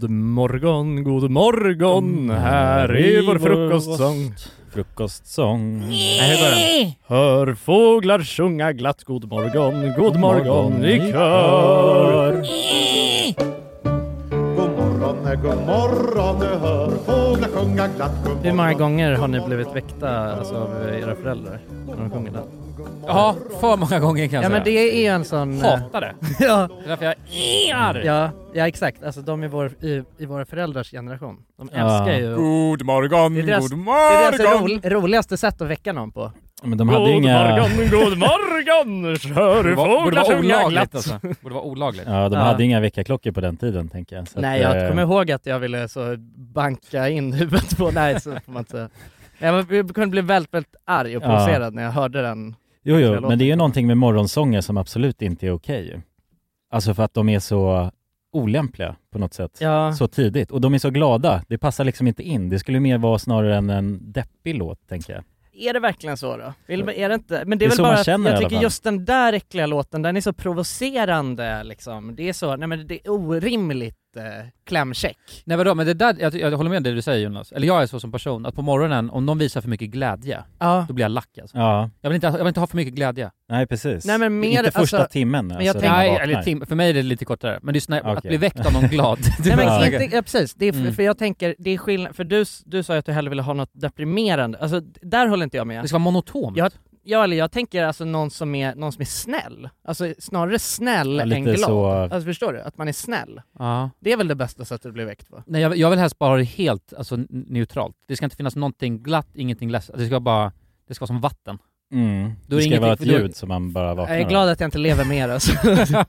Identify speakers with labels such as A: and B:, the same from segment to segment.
A: God morgon, god morgon. Här är vår frukostsång.
B: Frukostsång.
A: Nej, hur går den? Hör fåglar sjunga glatt god morgon, god morgon i kör.
C: God morgon, eh, god morgon, du hör fåglar sjunga glatt. God
A: Hur
C: morgon,
A: många gånger har ni blivit väckta alltså, av era föräldrar när de sjunger den?
B: Ja, för många gånger kan jag
A: Ja men det
B: säga.
A: är ju en sån... eh,
B: Hatar det.
A: ja,
B: Det är därför jag är arg.
A: ja, ja exakt. Alltså de är vår, i, i våra föräldrars generation. De
B: Ja.
A: älskar ju...
B: God morgon,
A: Det är deras-
B: god
A: Det är deras
B: morgon.
A: ro, roligaste sätt att väcka någon på.
B: men de hade inga...
A: morgon, god morgon! Kör fåglar sjunga glatt.
D: alltså. Borde vara olagligt.
B: Ja, de
A: Ja.
B: hade inga väckarklockor på den tiden tänker jag. Så
A: Nej,
B: att,
A: jag
B: eh,
A: kommer ihåg att jag ville så banka in huvudet på... Nej, så får man inte säga. Men jag var- jag kunde bli väldigt, väldigt arg och
B: Ja.
A: provocerad när jag hörde den.
B: Jo,
A: Så jag
B: jo,
A: låter
B: men det är ju
A: det.
B: någonting med morgonsånger som absolut inte är okej. Alltså för att de är så olämpliga på något sätt.
A: Ja,
B: Så tidigt. Och de är så glada. Det passar liksom inte in. Det skulle mer vara snarare än en deppig låt, tänker jag.
A: är det verkligen så då? Vill, är det inte? Men
B: Det
A: det är,
B: är
A: väl
B: så
A: bara
B: man
A: att
B: känner i
A: jag
B: alla
A: tycker
B: fall.
A: just den där äckliga låten, den är så provocerande liksom. Det är så, nej men det är orimligt eh, klämkäck.
D: Nej vadå, men det där, jag, jag håller med det du säger Jonas. Eller jag är så som person, att på morgonen, om någon visar för mycket glädje,
A: Ja.
D: då blir jag lack alltså.
B: Ja,
D: Jag vill inte, jag vill inte ha för mycket glädje.
B: nej precis.
A: Nej men mer,
B: inte första
A: alltså,
B: timmen
A: jag
B: alltså, när
A: tänker-
B: man
D: Nej,
B: vaknar.
D: eller tim, för mig är det lite kortare. Men det är snarare att
B: Okej.
D: bli väckt av någon glad.
A: Nej
B: Ja.
A: men inte, ja, precis, det är, för,
D: Mm.
A: för jag tänker, det är skillnad, för du, s- du sa ju att du hellre ville ha något deprimerande, alltså d- där håller inte jag med.
D: Det ska vara monotont.
A: Jag, ja, eller jag tänker alltså någon som är, någon som är snäll. Alltså snarare snäll
B: Ja, lite
A: än glad.
B: så-
A: Alltså förstår du? Att man är snäll.
D: Ja.
A: Det är väl det bästa sättet att bli väckt på?
D: Nej, jag, jag vill helst bara ha det helt alltså, n- neutralt. Det ska inte finnas någonting glatt, ingenting ledset. Det ska bara, det ska vara som vatten.
B: Mm.
D: Då är
B: det
D: det
B: ska vara ett
D: ingenting- då-
B: ljud som man bara vaknar
A: Jag är glad att jag inte lever med er alltså.
D: jag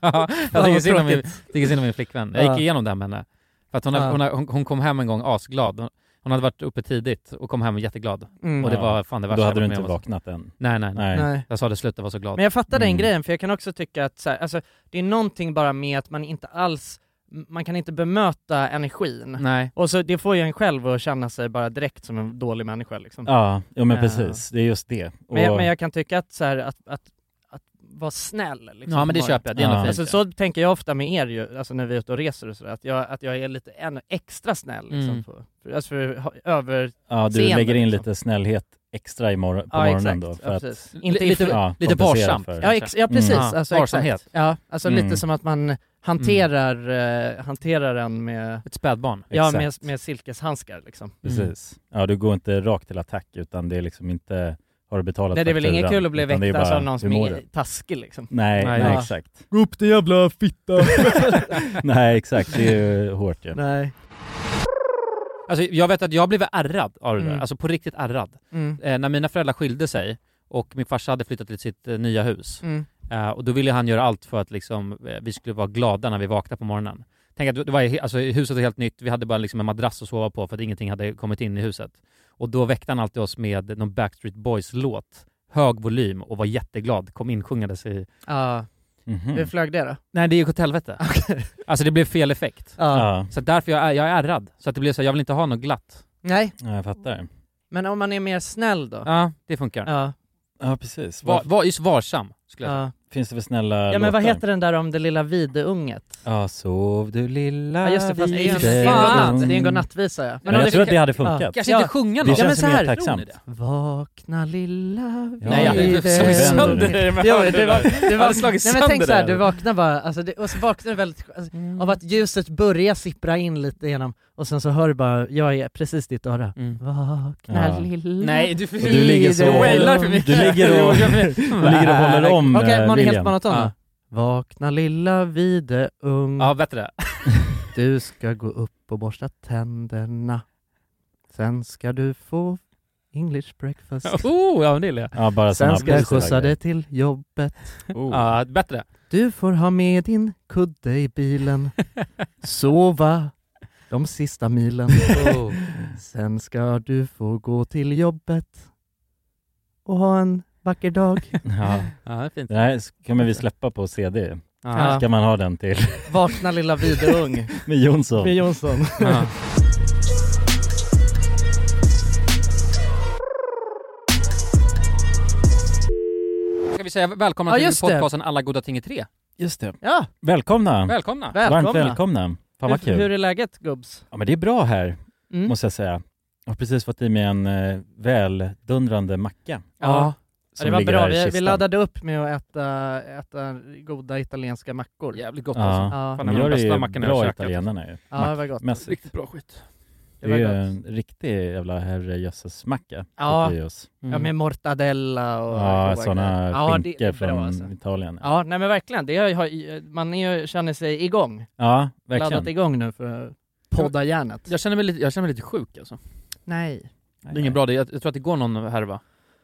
A: vad
D: tycker synd om min,
A: tråkigt.
D: tycker synd om min flickvän. Jag
A: Ja.
D: gick igenom det här med henne. För att hon,
A: Ja.
D: hon, hon, hon kom hem en gång asglad. Hon, hon hade varit uppe tidigt och kom hem jätteglad.
A: Mm.
D: Och det
B: Ja.
D: var fan det
B: av.
D: värsta
B: Då
D: jag
B: hade du
D: varit med
B: inte
D: om.
B: vaknat än.
D: Nej, nej, nej.
B: Nej.
A: Nej.
D: Jag sa det, sluta vara så glad.
A: Men jag fattar den
B: Mm.
A: grejen, för jag kan också tycka att så här, alltså, det är någonting bara med att man inte alls, man kan inte bemöta energin.
D: Nej.
A: Och så det får ju en själv att känna sig bara direkt som en dålig människa liksom.
B: Ja, jo, men
A: Ja.
B: precis. Det är just det. Och,
A: Men, jag, men jag kan tycka att, så här, att, att, att vara snäll liksom,
D: Ja men det
A: på
D: köper jag, det är ändå
B: Ja.
D: fint.
A: Alltså, så tänker jag ofta med er ju, alltså när vi är ute och reser och sådär, att jag, att jag är lite ännu extra snäll liksom,
D: Mm.
A: på, för, alltså för, ha- över...
B: ja, du
A: Seende,
B: lägger in
A: liksom.
B: lite snällhet extra i mor- på
A: Ja
B: morgonen
A: exakt,
B: då. För
A: ja,
B: att,
A: precis.
D: L-
A: Inte
D: lite-
A: lite, ja,
B: ja,
D: lite
B: kompensera
D: varsam.
B: för-
D: Ja,
A: ex, ja precis,
B: Mm.
D: Ja,
A: alltså,
D: varsamhet.
A: exakt. Ja, alltså
B: Mm.
A: lite som att man hanterar, eh, hanterar en med,
D: Ett spädbarn.
A: ja, med,
B: Exakt.
A: med silkeshandskar liksom.
B: Precis. Ja, du går inte rakt till attack utan det är liksom inte, har du betalat
A: Nej, det är väl inget
B: fakturan,
A: kul att bli
B: utan det är
A: väckt alltså,
B: bara,
A: av någon som
B: hur mår
A: är
B: du?
A: taskig liksom.
B: Nej,
D: Nej,
B: nej,
A: ja.
B: exakt.
A: Gå upp din jävla fitta!
B: Nej, exakt. Det är ju hårt ju.
A: Nej.
D: Alltså jag vet att jag blev ärrad av det där,
A: Mm.
D: alltså på riktigt ärrad.
A: Mm.
D: Eh, när mina föräldrar skilde sig och min farsa hade flyttat till sitt eh, nya hus,
A: Mm.
D: eh, och då ville han göra allt för att liksom, eh, vi skulle vara glada när vi vaknade på morgonen. Tänk att det var, he- alltså, huset var helt nytt, vi hade bara liksom en madrass att sova på för att ingenting hade kommit in i huset. Och då väckte han alltid oss med någon Backstreet Boys-låt, hög volym och var jätteglad, kom insjungandes i...
A: Ja,
B: Mhm.
A: hur flög det då?
D: Nej det gick åt helvete. Alltså det blev fel effekt.
B: Ja,
D: Så därför jag är jag är ärrad. Så att det blir så, jag vill inte ha något glatt.
A: Nej,
B: ja, jag fattar.
A: men om man är mer snäll då?
D: Ja, det funkar.
A: Ja,
B: Ja, precis.
D: Var,
B: Vad
D: var, just varsam, skulle jag säga.
A: ja.
B: finns det för snälla
A: ja men vad
B: låtar?
A: heter den där om det lilla videunget?
B: Ja, sov du lilla
A: Ja just det, fast det är ju en
D: Videung.
A: godnatt, det är en godnattvisa ja.
B: Men jag
A: det
B: tror att det hade funkat.
A: Ja.
D: Kanske
A: Ja.
D: inte sjunga
B: Det
D: något.
B: känns
A: men så här-
B: mer tacksamt.
D: Tror
A: Vakna lilla
B: Ja,
D: Nej, jag
B: det-
D: slog
B: det-
D: sönder dig med
A: Jo, det var, det
D: Jag
A: var,
D: hade slagit
A: nej men tänk
D: sönder
A: såhär,
D: det.
A: du vaknar bara, alltså det, och så vaknar du väldigt, alltså, av att ljuset börjar sippra in lite genom, och sen så hör du bara, jag är precis ditt öra.
D: Mm.
A: Vakna
B: Ja.
A: lilla...
D: Nej, Mm. du, Mm.
B: Och du ligger så...
A: Du wailar för
B: Du ligger och, du ligger och håller om
A: Okej,
B: eh,
A: man är helt
B: William.
A: monoton
D: Ja.
A: då. Vakna lilla videung,
D: Ja, bättre.
A: du ska gå upp och borsta tänderna. Sen ska du få English breakfast.
D: Oh, ja men det gillar jag.
B: Ja, bara
A: Sen
B: såna
A: ska jag
B: positiva
A: skjutsa
B: grejer.
A: dig till jobbet.
B: Oh.
D: Ja, bättre.
A: Du får ha med din kudde i bilen. Sova de sista milen.
D: Oh.
A: Sen ska du få gå till jobbet och ha en vacker dag.
B: Ja.
D: Ja, det är fint.
B: Den här kommer vi släppa på CD.
D: Ja.
B: Ska man ha den till
A: Vakna lilla videung
B: med Jonsson?
A: med Jonsson.
D: Ja. Ska vi säga välkomna
A: Ja,
D: till
A: just det.
D: podcasten Alla goda ting i tre?
B: Just det.
A: Ja,
B: Välkomna!
D: Välkomna!
A: välkomna.
B: Varmt välkomna. Fan vad
A: hur,
B: kul.
A: hur är läget gubbs?
B: Ja men det är bra här,
A: Mm.
B: måste jag säga. Jag har precis fått i mig en eh, väldundrande macka.
A: Ja,
B: som
A: det var
B: ligger
A: bra.
B: här i
A: Vi, vi
B: kistan.
A: laddade upp med att äta, äta goda italienska mackor. Ja,
D: Jävligt gott
B: Ja.
D: alltså. Fan,
A: Ja.
B: De
D: det var
B: gör
D: de
B: det
D: bästa
B: ju
D: mackorna jag har
B: bra
D: käkat.
B: italienarna ju.
A: det var gott.
B: Mackmässigt.
D: bra skit.
B: Det,
A: Det var
B: är ju
A: gott.
B: en riktig jävla herrejösses macka.
A: Ja.
B: Oss.
A: Ja, med mortadella och...
B: Mm. Ja,
A: och-
B: sådana
A: Ja, det-
B: skinkor
A: det är bra,
B: från
A: alltså.
B: Italien. Ja,
A: Ja, nej men verkligen. Det har, man är, ju- känner sig igång. Laddat
B: verkligen.
A: igång nu för att podda hjärnet.
D: Jag känner, mig lite, jag känner mig lite sjuk alltså.
A: Nej.
D: Det är inget bra, det, jag, jag tror att det går någon härva.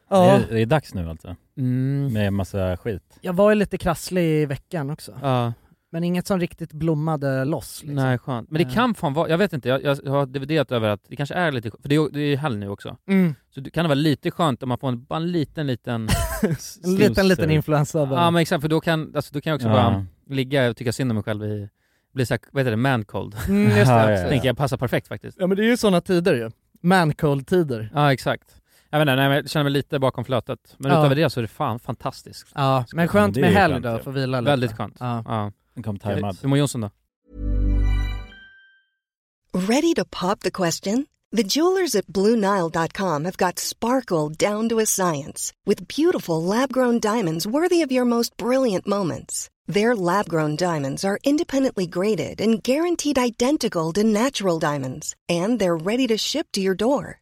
B: Ja.
A: Ja.
B: Det, är, det är dags nu alltså,
D: Mm.
B: med massa skit.
A: Jag var ju lite krasslig i veckan också.
D: Ja,
A: Men inget som riktigt blommade loss. Liksom.
D: nej skönt. Men det
A: Ja.
D: kan fan vara, jag vet inte, jag, jag har dividerat över att det kanske är lite, för det är, det är ju helg nu också.
A: Mm.
D: Så det kan vara lite skönt om man får en, bara en liten, liten...
A: En liten, liten
B: Snoozer.
A: influensa. bara.
D: Ja men exakt, för då kan, alltså, då kan jag också bara
B: eh, Ja.
D: ligga och tycka synd om mig själv i, bli såhär, vad heter det, man cold.
A: Mm, just det.
B: Ja, ja,
A: också.
B: ja.
D: Tänker jag passar perfekt faktiskt.
A: Ja men det är ju sådana tider ju. Man-cold-tider.
D: Ja exakt. Jag vet inte, nej, men jag känner mig lite bakom flötet. Men
A: Ja.
D: utöver det så är det fan fantastiskt.
A: Ja, men
B: Ja, men
A: skönt
B: det är
A: med
B: ju
A: helg
B: skönt,
A: då,
B: ja.
A: för vila lite.
D: Väldigt skönt.
A: Ja.
D: Ja.
B: Den kom tajmad.
D: Hur mår Jonsson då?
E: Ready to pop the question? The jewelers at BlueNile.com have got sparkle down to a science with beautiful lab grown diamonds worthy of your most brilliant moments. Their lab grown diamonds are independently graded and guaranteed identical to natural diamonds, and they're ready to ship to your door.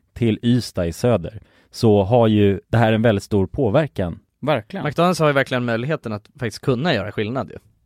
B: till Ystad i söder, så har ju det här en väldigt stor påverkan.
D: Verkligen.
A: McDonalds har ju verkligen möjligheten att faktiskt kunna göra skillnad ju.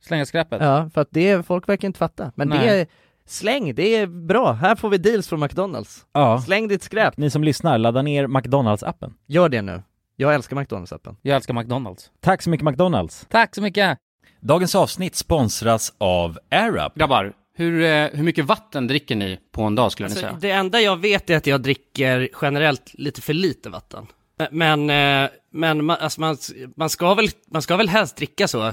D: Slänga skräpet.
A: Ja, för att det, folk verkar inte fatta. Men det
D: Nej.
A: är, släng, det är bra. Här får vi deals från McDonalds.
B: Ja.
A: Släng ditt skräp.
B: Ni som lyssnar, ladda ner McDonalds-appen.
A: Gör det nu. Jag älskar McDonalds-appen.
D: Jag älskar McDonalds.
B: Tack så mycket McDonalds!
D: Tack så mycket!
B: Dagens avsnitt sponsras av AirUp.
F: Grabbar, hur, eh, hur mycket vatten dricker ni på en dag
D: Alltså,
F: skulle ni säga?
G: det enda jag vet är att jag dricker generellt lite för lite vatten. Men, eh, men man, alltså man, man, ska väl, man ska väl helst dricka så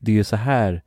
B: det är ju så här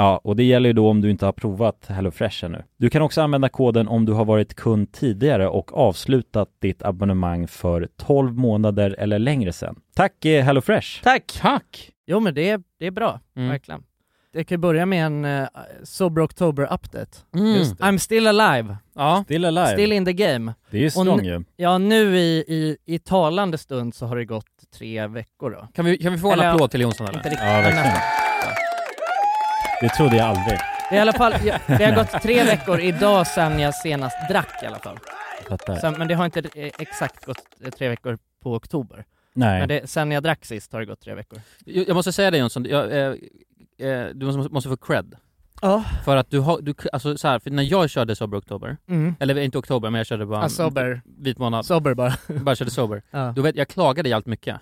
B: Ja, och det gäller ju då om du inte har provat HelloFresh ännu. Du kan också använda koden om du har varit kund tidigare och avslutat ditt abonnemang för 12 månader eller längre sedan. Tack eh, HelloFresh!
A: Tack!
D: Tack!
A: Jo men det är, det är bra,
D: Mm.
A: verkligen. Jag kan ju börja med en eh, Sober October update.
D: Just det.
A: I'm still alive,
D: Ja,
B: Still alive!
A: still in the game.
B: Det är ju
A: Och
B: strong
A: n-
B: ju.
A: Ja nu i, i, i talande stund så har det gått tre veckor då.
D: kan vi, kan vi få en
A: Eller-
D: applåd till Jonsson eller?
A: riktigt.
B: Ja, verkligen. Det trodde jag aldrig.
A: I alla fall, ja, det har gått tre veckor idag sedan jag senast drack i alla fall.
B: Fattar.
A: Sen, men det har inte eh, exakt gått eh, tre veckor på oktober.
B: Nej.
A: Men det, sen jag drack sist har det gått tre veckor.
D: Jag jag måste säga det Jonsson, jag, eh, eh, du måste, måste få cred.
A: Ja.
D: För att du har, du, alltså så här, för när jag körde Sober Oktober,
A: Mm.
D: eller inte Oktober men jag körde bara
A: Ja, sober.
D: vit månad,
A: Sober bara.
D: bara körde Sober.
A: Ja.
D: Du vet, jag klagade jävligt mycket.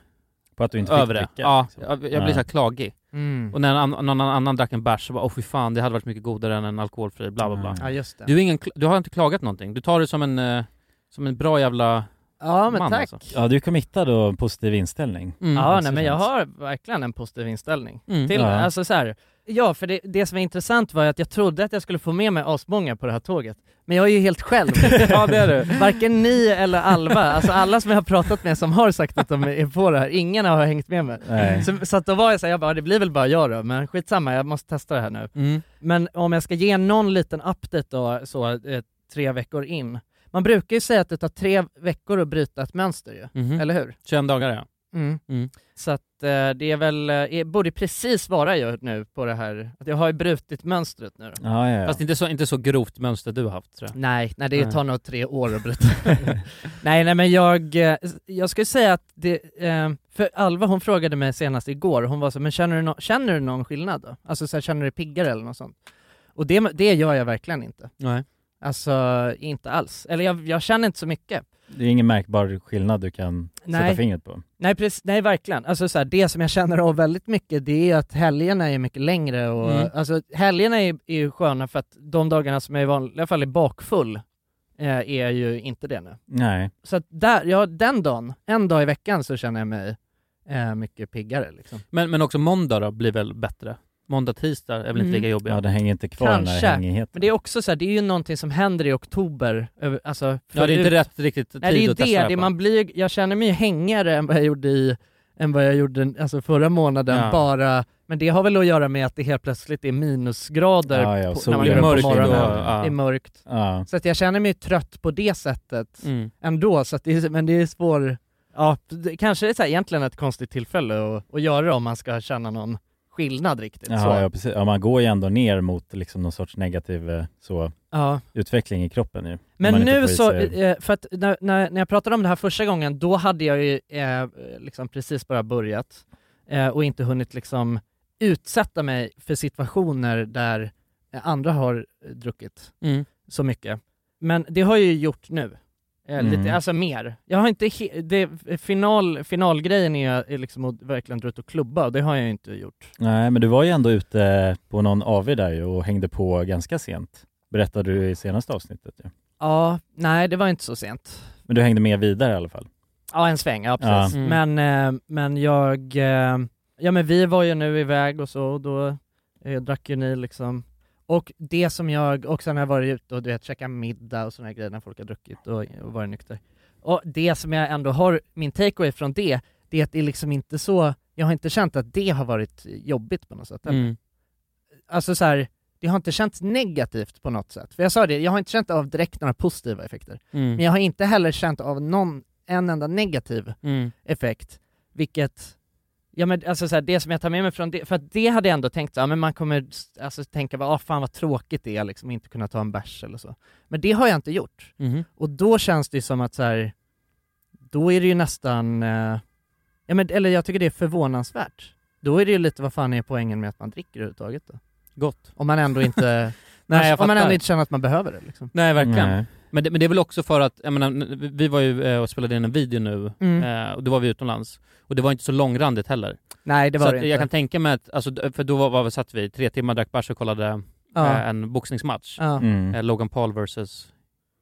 B: På att du inte fick
D: Över det.
B: dricka,
D: Ja,
B: liksom.
D: jag, jag blev
B: Ja.
D: så här klagig.
A: Mm.
D: Och när någon, annan- någon annan drack en bärs så bara åh fy fan, det hade varit mycket godare än en alkoholfri, bla bla bla.
B: Mm.
A: Ja just det.
D: Du, är ingen, kl- du har inte klagat någonting, du tar det som en, eh, som en bra jävla...
A: ja men
D: man,
A: tack.
D: alltså.
B: Ja, du är committad och en positiv inställning.
D: Mm.
A: Ja
B: så
A: nej men jag
B: känns.
A: har verkligen en positiv inställning.
D: Mm.
A: Till,
B: Ja.
A: alltså så här. Ja för det, det som är intressant var ju att jag trodde att jag skulle få med mig asmånga på det här tåget. Men jag är ju helt själv.
D: Ja det är du.
A: Varken ni eller Alva, alltså alla som jag har pratat med som har sagt att de är på det här, ingen har hängt med mig.
B: Nej.
A: Så, så att då var jag såhär, jag bara, det blir väl bara jag då, men skitsamma, jag måste testa det här nu.
D: Mm.
A: Men om jag ska ge någon liten update då, så eh, tre veckor in. Man brukar ju säga att det tar tre veckor att bryta ett mönster ju,
D: Mhm.
A: eller hur?
D: 21 dagar ja. Mm.
A: Så att eh, det är väl, eh, det borde precis vara jag nu på det här, att jag har ju brutit mönstret nu då.
B: Ja, ja, ja.
D: Fast inte så, inte så grovt mönster du har haft tror jag.
A: Nej, nej det
D: Nej.
A: tar nog tre år att bryta. nej, nej men jag, eh, jag skulle säga att det, eh, för Alva hon frågade mig senast igår, hon var så men känner du, nå- känner du någon skillnad då? Alltså så här, känner du dig piggare eller något sånt? Och det, det gör jag verkligen inte.
D: Nej.
A: Alltså inte alls. Eller jag, jag känner inte så mycket.
B: Det är ingen märkbar skillnad du kan
A: Nej.
B: sätta fingret på.
A: Nej, precis, nej verkligen. Alltså så här, det som jag känner av väldigt mycket det är att helgerna är mycket längre och
D: Mm.
A: alltså helgerna är, är ju sköna för att de dagarna som jag i vanliga fall är bakfull eh, är ju inte det nu.
B: Nej.
A: Så att där, ja, den dagen, en dag i veckan så känner jag mig
H: eh, mycket piggare. Liksom.
D: Men, men också måndag då blir väl bättre? Måndag, tisdag är väl inte
A: Mm.
D: lika jobbiga?
B: Ja, den hänger inte kvar den
A: Kanske.
B: här hängigheten.
A: Men det är också så här, det är ju någonting som händer i oktober. över- Alltså,
D: Ja, det är inte
A: förut-
D: rätt riktigt tid
A: Nej, det är ju
D: att testa
A: det.
D: här
A: det
D: på.
A: man blir, jag känner mig ju hängigare än vad jag gjorde, i, än vad jag gjorde alltså förra månaden.
D: Ja.
A: Bara, men det har väl att göra med att det helt plötsligt är minusgrader
B: Ja, ja,
A: på, när
B: solen
A: man gör det
B: mörker
A: på morgonen.
B: då,
D: ja.
A: Det är mörkt.
B: Ja.
A: Så att jag känner mig ju trött på det sättet
D: Mm.
A: ändå, så att det är, men det är svår... Ja, det, kanske är så här, egentligen ett konstigt tillfälle att, att göra det om man ska känna någon skillnad riktigt. så.
B: Ja, ja, precis. Ja, man går ju ändå ner mot liksom någon sorts negativ eh, så,
A: Ja.
B: utveckling i kroppen ju. Om man
A: Men
B: inte
A: nu
B: får i
A: så,
B: sig-
A: eh, för att när, när, när jag pratade om det här första gången, då hade jag ju eh, liksom precis bara börjat eh, och inte hunnit liksom utsätta mig för situationer där eh, andra har eh, druckit
D: Mm.
A: så mycket. Men det har jag ju gjort nu. Eh,
B: Mm.
A: lite, alltså mer. Jag har inte he- det, final, finalgrejen är, är liksom att verkligen dra ut och klubba och det har jag ju inte gjort.
B: Nej, men du var ju ändå ute på någon AV där ju och hängde på ganska sent. Berättade du i senaste avsnittet ju.
A: Ja, nej det var inte så sent.
B: Men du hängde med vidare i alla fall.
A: Ja, en sväng, ja precis.
D: Ja.
A: Men, eh, men jag, eh, ja men vi var ju nu iväg och så, och då eh, drack ju ni liksom. Och det som jag, och sen har jag varit ute och du vet, käkat middag och sådana grejer när folk har druckit och, och varit nykter. Och det som jag ändå har, min takeaway från det, det är att det är liksom inte så, jag har inte känt att det har varit jobbigt på något sätt.
D: Mm.
A: Alltså så här, det har inte känts negativt på något sätt. För jag sa det, jag har inte känt av direkt några positiva effekter.
D: Mm.
A: Men jag har inte heller känt av någon, en enda negativ
D: Mm.
A: effekt. Vilket, ja men alltså så här, det som jag tar med mig från det, för att det hade jag ändå tänkt så här, men man kommer alltså tänka, ah, fan vad tråkigt det är liksom att inte kunna ta en bärs eller så. Men det har jag inte gjort.
D: Mhm.
A: Och då känns det ju som att så här, då är det ju nästan, eh, ja men eller jag tycker det är förvånansvärt. Då är det ju lite, vad fan är poängen med att man dricker överhuvudtaget då?
D: Gott.
A: Om man ändå inte,
D: Nej, jag
A: om man
D: fattar.
A: ändå inte känner att man behöver det liksom.
D: Nej, verkligen.
B: Nej.
D: Men, det, men det är väl också för att, jag menar, n- vi var ju eh, och spelade in en video nu,
A: Mm.
D: eh, och då var vi utomlands. Och det var inte så långrandigt heller.
A: Nej det
D: så
A: var
D: att
A: det
D: jag
A: inte.
D: kan tänka mig att, alltså, d- för då var, var, satt vi tre timmar, drack bärs och kollade
A: ja.
D: eh, en boxningsmatch.
A: Ja.
B: Mm.
D: Eh, Logan Paul versus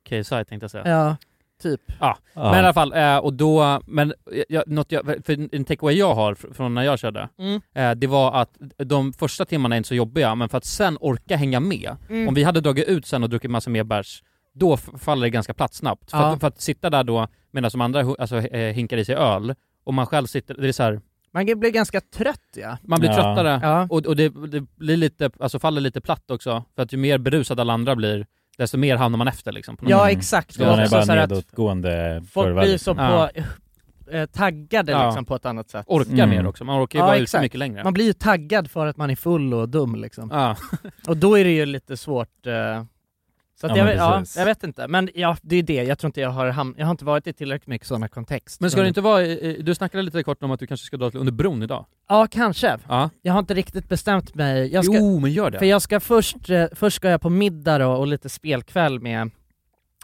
D: KSI tänkte jag säga.
A: ja, typ.
B: Ja.
D: Men i alla fall, eh, och då, men eh, jag, något jag, för en takeaway jag har fr- från när jag körde,
A: Mm.
D: eh, det var att de första timmarna är inte så jobbiga, men för att sen orka hänga med,
A: Mm.
D: om vi hade dragit ut sen och druckit massa mer bärs, då f- faller det ganska platt snabbt. För,
A: Ja.
D: att, för att sitta där då medan de andra hu- alltså, eh, hinkar i sig öl, och man själv sitter, det är så här,
A: Man blir ganska trött ja.
D: man blir
B: Ja.
D: tröttare,
A: Ja.
D: och, och det, det blir lite, alltså faller lite platt också, för att ju mer berusad alla andra blir, desto mer hamnar man efter liksom. På något
A: Ja
D: sätt.
A: exakt,
B: Så man är
A: också så här
B: bara
A: att
B: nedåtgående
A: folk
B: kurva,
A: blir så
B: liksom.
A: på,
D: Ja.
A: eh, taggade
D: Ja.
A: liksom på ett annat sätt.
D: Orkar
B: Mm.
D: mer också, man orkar ju
A: Ja,
D: vara ute
A: exakt.
D: mycket längre.
A: Man blir ju taggad för att man är full och dum liksom.
D: Ja.
A: Och då är det ju lite svårt eh, så att
B: Ja,
A: jag,
B: men
A: vet- ja,
B: precis.
A: jag vet inte, men ja, det är det. Jag tror inte jag har ham- jag har inte varit i tillräckligt mycket sådana kontext.
D: Men ska
B: Mm.
D: det inte vara, i- i- du snackade lite kort om att du kanske ska dra till under bron idag?
A: Ja, kanske.
D: Ja.
A: Jag har inte riktigt bestämt mig. Jag ska,
D: Jo, men gör
A: För
D: det!
A: jag ska först, eh, först ska jag på middag då och lite spelkväll med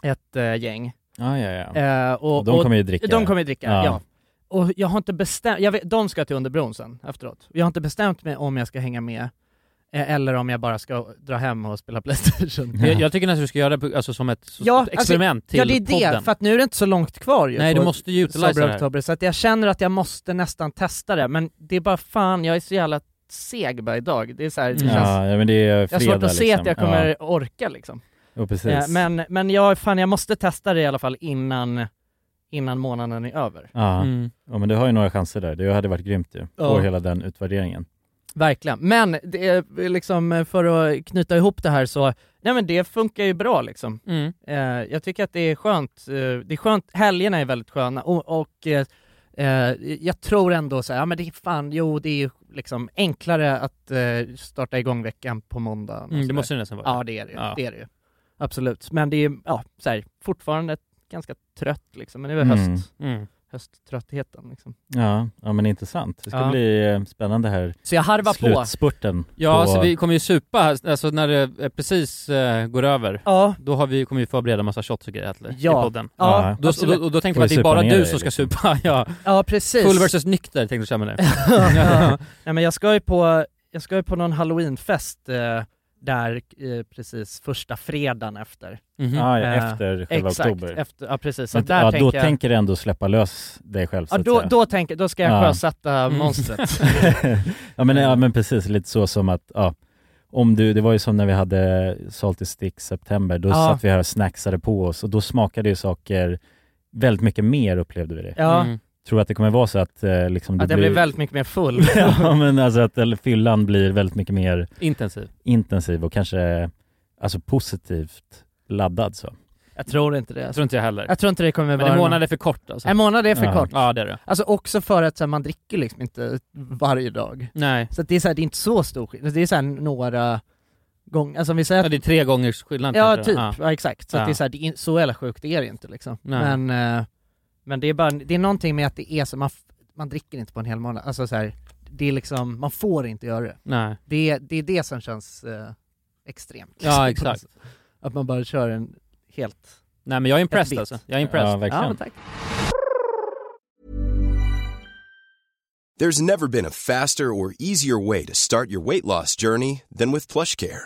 A: ett eh, gäng.
B: Ja, ja, ja.
A: Eh,
B: Och
A: och,
B: de
A: och
B: kommer ju dricka.
A: De kommer ju dricka, ja.
B: Ja.
A: Och jag har inte bestämt, jag vet, de ska till Underbron sen efteråt. Jag har inte bestämt mig om jag ska hänga med eh, eller om jag bara ska dra hem och spela Playstation.
D: Jag, jag tycker nästan du ska göra det på- alltså, som ett så-
A: Ja, alltså,
D: experiment till
A: ja det är
D: podden.
A: det, för att nu är det inte så långt kvar ju.
D: Nej,
A: på
D: du måste ju utilisa
A: Sober
D: det här.
A: Oktober, så att jag känner att jag måste nästan testa det, men det är bara fan, jag är så jävla seg bara idag. Det är så här, det
D: Mm.
A: känns,
B: Ja, ja, men det är
A: jag
B: fredag
A: har svårt att se
B: liksom.
A: att jag kommer
B: Ja,
A: orka liksom.
B: jo, precis.
A: Eh, men men jag, fan, jag måste testa det i alla fall innan, innan månaden är över.
B: Ja.
D: Mm.
B: ja, men du har ju några chanser där. Det hade varit grymt ju.
A: Ja.
B: På hela den utvärderingen.
A: Verkligen. Men det är liksom eh, för att knyta ihop det här så, nej men det funkar ju bra liksom.
D: Mm.
A: Eh, jag tycker att det är skönt, eh, det är skönt, helgerna är väldigt sköna och, och eh, eh, jag tror ändå så här, ja men det är fan, jo det är ju liksom enklare att eh, starta igång veckan på måndag.
D: Mm, det måste det nästan vara.
A: Ja det är det ju,
D: Ja.
A: det är det ju. Absolut. Men det är ja, så här, fortfarande ganska trött liksom, men det är väl
B: Mm.
A: höst,
D: Mm.
A: hösttröttheten liksom.
B: Ja, ja men intressant. Det ska
A: Ja.
B: bli eh, spännande här.
A: Så jag harvar på.
B: Slutspurten.
D: Ja,
B: på...
D: alltså, vi kommer ju supa, här, alltså när det eh, precis eh, går över,
A: Ja,
D: då har vi, kommer vi förbereda massa shots och grejer här,
A: Ja.
D: i podden.
A: ja,
B: Ja.
D: Då, och då,
A: absolut.
D: och då tänkte
B: Får
D: jag
B: vi
D: att det är
B: supa
D: bara
B: ner
D: du
B: dig
D: som ska
B: liksom.
D: supa, ja.
A: ja precis.
D: Full versus nykter tänkte jag köra med dig.
A: ja. Nej men jag ska ju på, jag ska ju på någon halloweenfest eh, där eh, precis första fredagen efter.
B: Mhm. Ah, ja,
A: Eh,
B: efter själva
A: exakt,
B: oktober.
A: Efter, ja, precis. Så
B: Men,
A: där
B: ja,
A: tänker
B: då
A: jag,
B: tänker du ändå släppa lös dig själv så
A: ja,
B: att
A: då,
B: säga.
A: då, tänker, då ska jag
B: Ja.
A: sjösätta
B: Mm.
A: monstret.
B: ja, men, ja men precis, lite så som att, ja, om du, det var ju som när vi hade Salty Stick September, då
A: Ja.
B: satt vi här och snacksade på oss och då smakade ju saker väldigt mycket mer upplevde vi det.
A: Ja.
D: Mhm.
A: Mm.
B: Tror du att det kommer vara så att eh, liksom, du
A: Att jag blir väldigt mycket mer full.
B: ja men alltså att eller, fyllan blir väldigt mycket mer
D: Intensiv.
B: intensiv och kanske alltså positivt laddad så.
A: Jag tror inte det.
D: Jag tror inte jag heller.
A: Jag tror inte det kommer
D: Men
A: vara...
D: en månad
A: någon-
D: är för kort alltså.
A: En månad är för
D: Ja.
A: kort.
D: Ja, det är det.
A: Alltså också för att så här, man dricker liksom inte varje dag.
D: Nej.
A: Så att det, är så här, det är inte så stor skillnad. Det är så här, några gånger, alltså om vi säger...
D: Ja, det är tre gångers skillnad
A: Ja,
D: kanske.
A: typ. Ja. exakt. Så,
D: Ja.
A: att det är så, här, det är, in- så jävla sjukt är det inte liksom.
D: Nej.
A: Men, eh, men det är bara, det är någonting med att det är så, man, f- man dricker inte på en hel månad. Alltså så här, det är liksom, man får inte göra det.
D: Nej.
A: Det, det är det som känns eh, extremt.
D: Ja,
A: På något
D: exakt.
A: sätt. Att man bara kör en helt...
D: Nej men jag är
A: ett bit.
D: impressed alltså. Jag är impressed.
B: Ja, verkligen.
A: Ja, men tack.
I: There's never been a faster or easier way to start your weight loss journey than with PlushCare.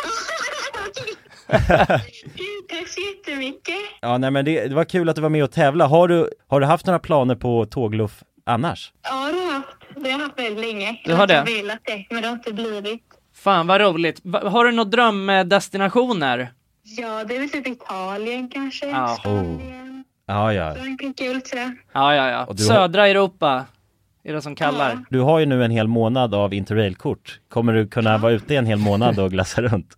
J: Tack så jättemycket.
B: Ja, nej men det, det var kul att du var med och tävla. Har du, har du haft några planer på tågluff annars?
J: Ja, då. Det har jag haft väldigt länge.
K: Du har det?
J: Jag har velat det, men det har inte blivit.
K: Fan vad roligt. Va- Har du några drömdestinationer?
J: Ja, det är väl typ Italien kanske.
K: Oh.
B: Ja, ja.
J: Frankrike, kul sådär.
K: Ja, ja, ja.
B: Och du har-
K: Södra Europa är det som kallar.
B: Du har ju nu en hel månad av interrailkort. Kommer du kunna vara ute i en hel månad och glassa runt?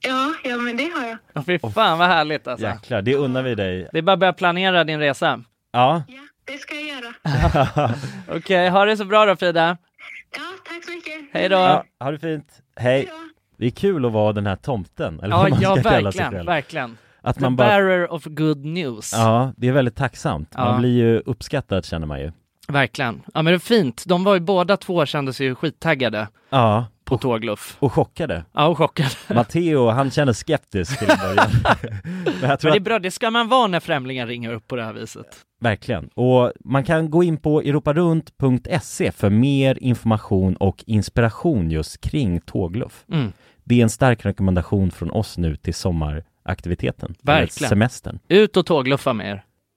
J: Ja, ja men det har jag.
K: Åh, Fy fan vad härligt alltså.
B: Jäklar, det unnar vi dig.
K: Det är bara att börja planera din resa.
B: Ja.
J: Det ska jag göra.
K: Okej, ha Eh, det så bra då Frida.
J: Tack så mycket.
K: Hej då.
B: Ja, ha det fint. Hej. Det är kul att vara den här tomten, eller
K: Ja,
B: vad man
K: ja
B: ska kalla sig
K: verkligen,
B: själv.
K: verkligen.
B: Att
K: The
B: man bara-
K: bearer of good news.
B: Ja, det är väldigt tacksamt.
K: Ja.
B: Man blir ju uppskattad känner man ju.
K: Verkligen. Ja men det är fint. De var ju båda två kände sig ju skittaggade.
B: Ja.
K: På tågluff.
B: Och chockade.
K: Ja, och chockade.
B: Matteo, han känner skeptisk till en början. Men jag tror
K: Men det är
B: att,
K: bra, det ska man vara när främlingar ringer upp på det här viset.
B: verkligen. Och man kan gå in på europarunt.se E för mer information och inspiration just kring tågluff.
K: Mm.
B: Det är en stark rekommendation från oss nu till sommaraktiviteten. eller
K: Verkligen.
B: Semestern.
K: Ut och tågluffa med er.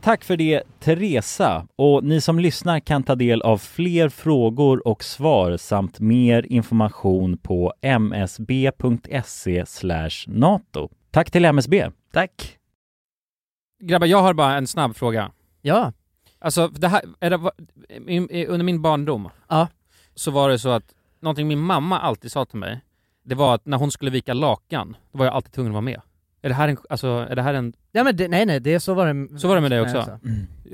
B: Tack för det Teresa och ni som lyssnar kan ta del av fler frågor och svar samt mer information på msb.se E nato. Tack till MSB.
A: Tack.
D: Grabbar, jag har bara en snabb fråga.
A: Ja.
D: Alltså, det här, är det, va- i- i- under min barndom
A: ja.
D: så var det så att någonting min mamma alltid sa till mig, det var att när hon skulle vika lakan, då var jag alltid tvungen att vara med. Är det här en, alltså, är det här en,
A: Ja men det, nej nej, det, så var det
D: så var det med dig
A: Nej,
D: också?
A: alltså.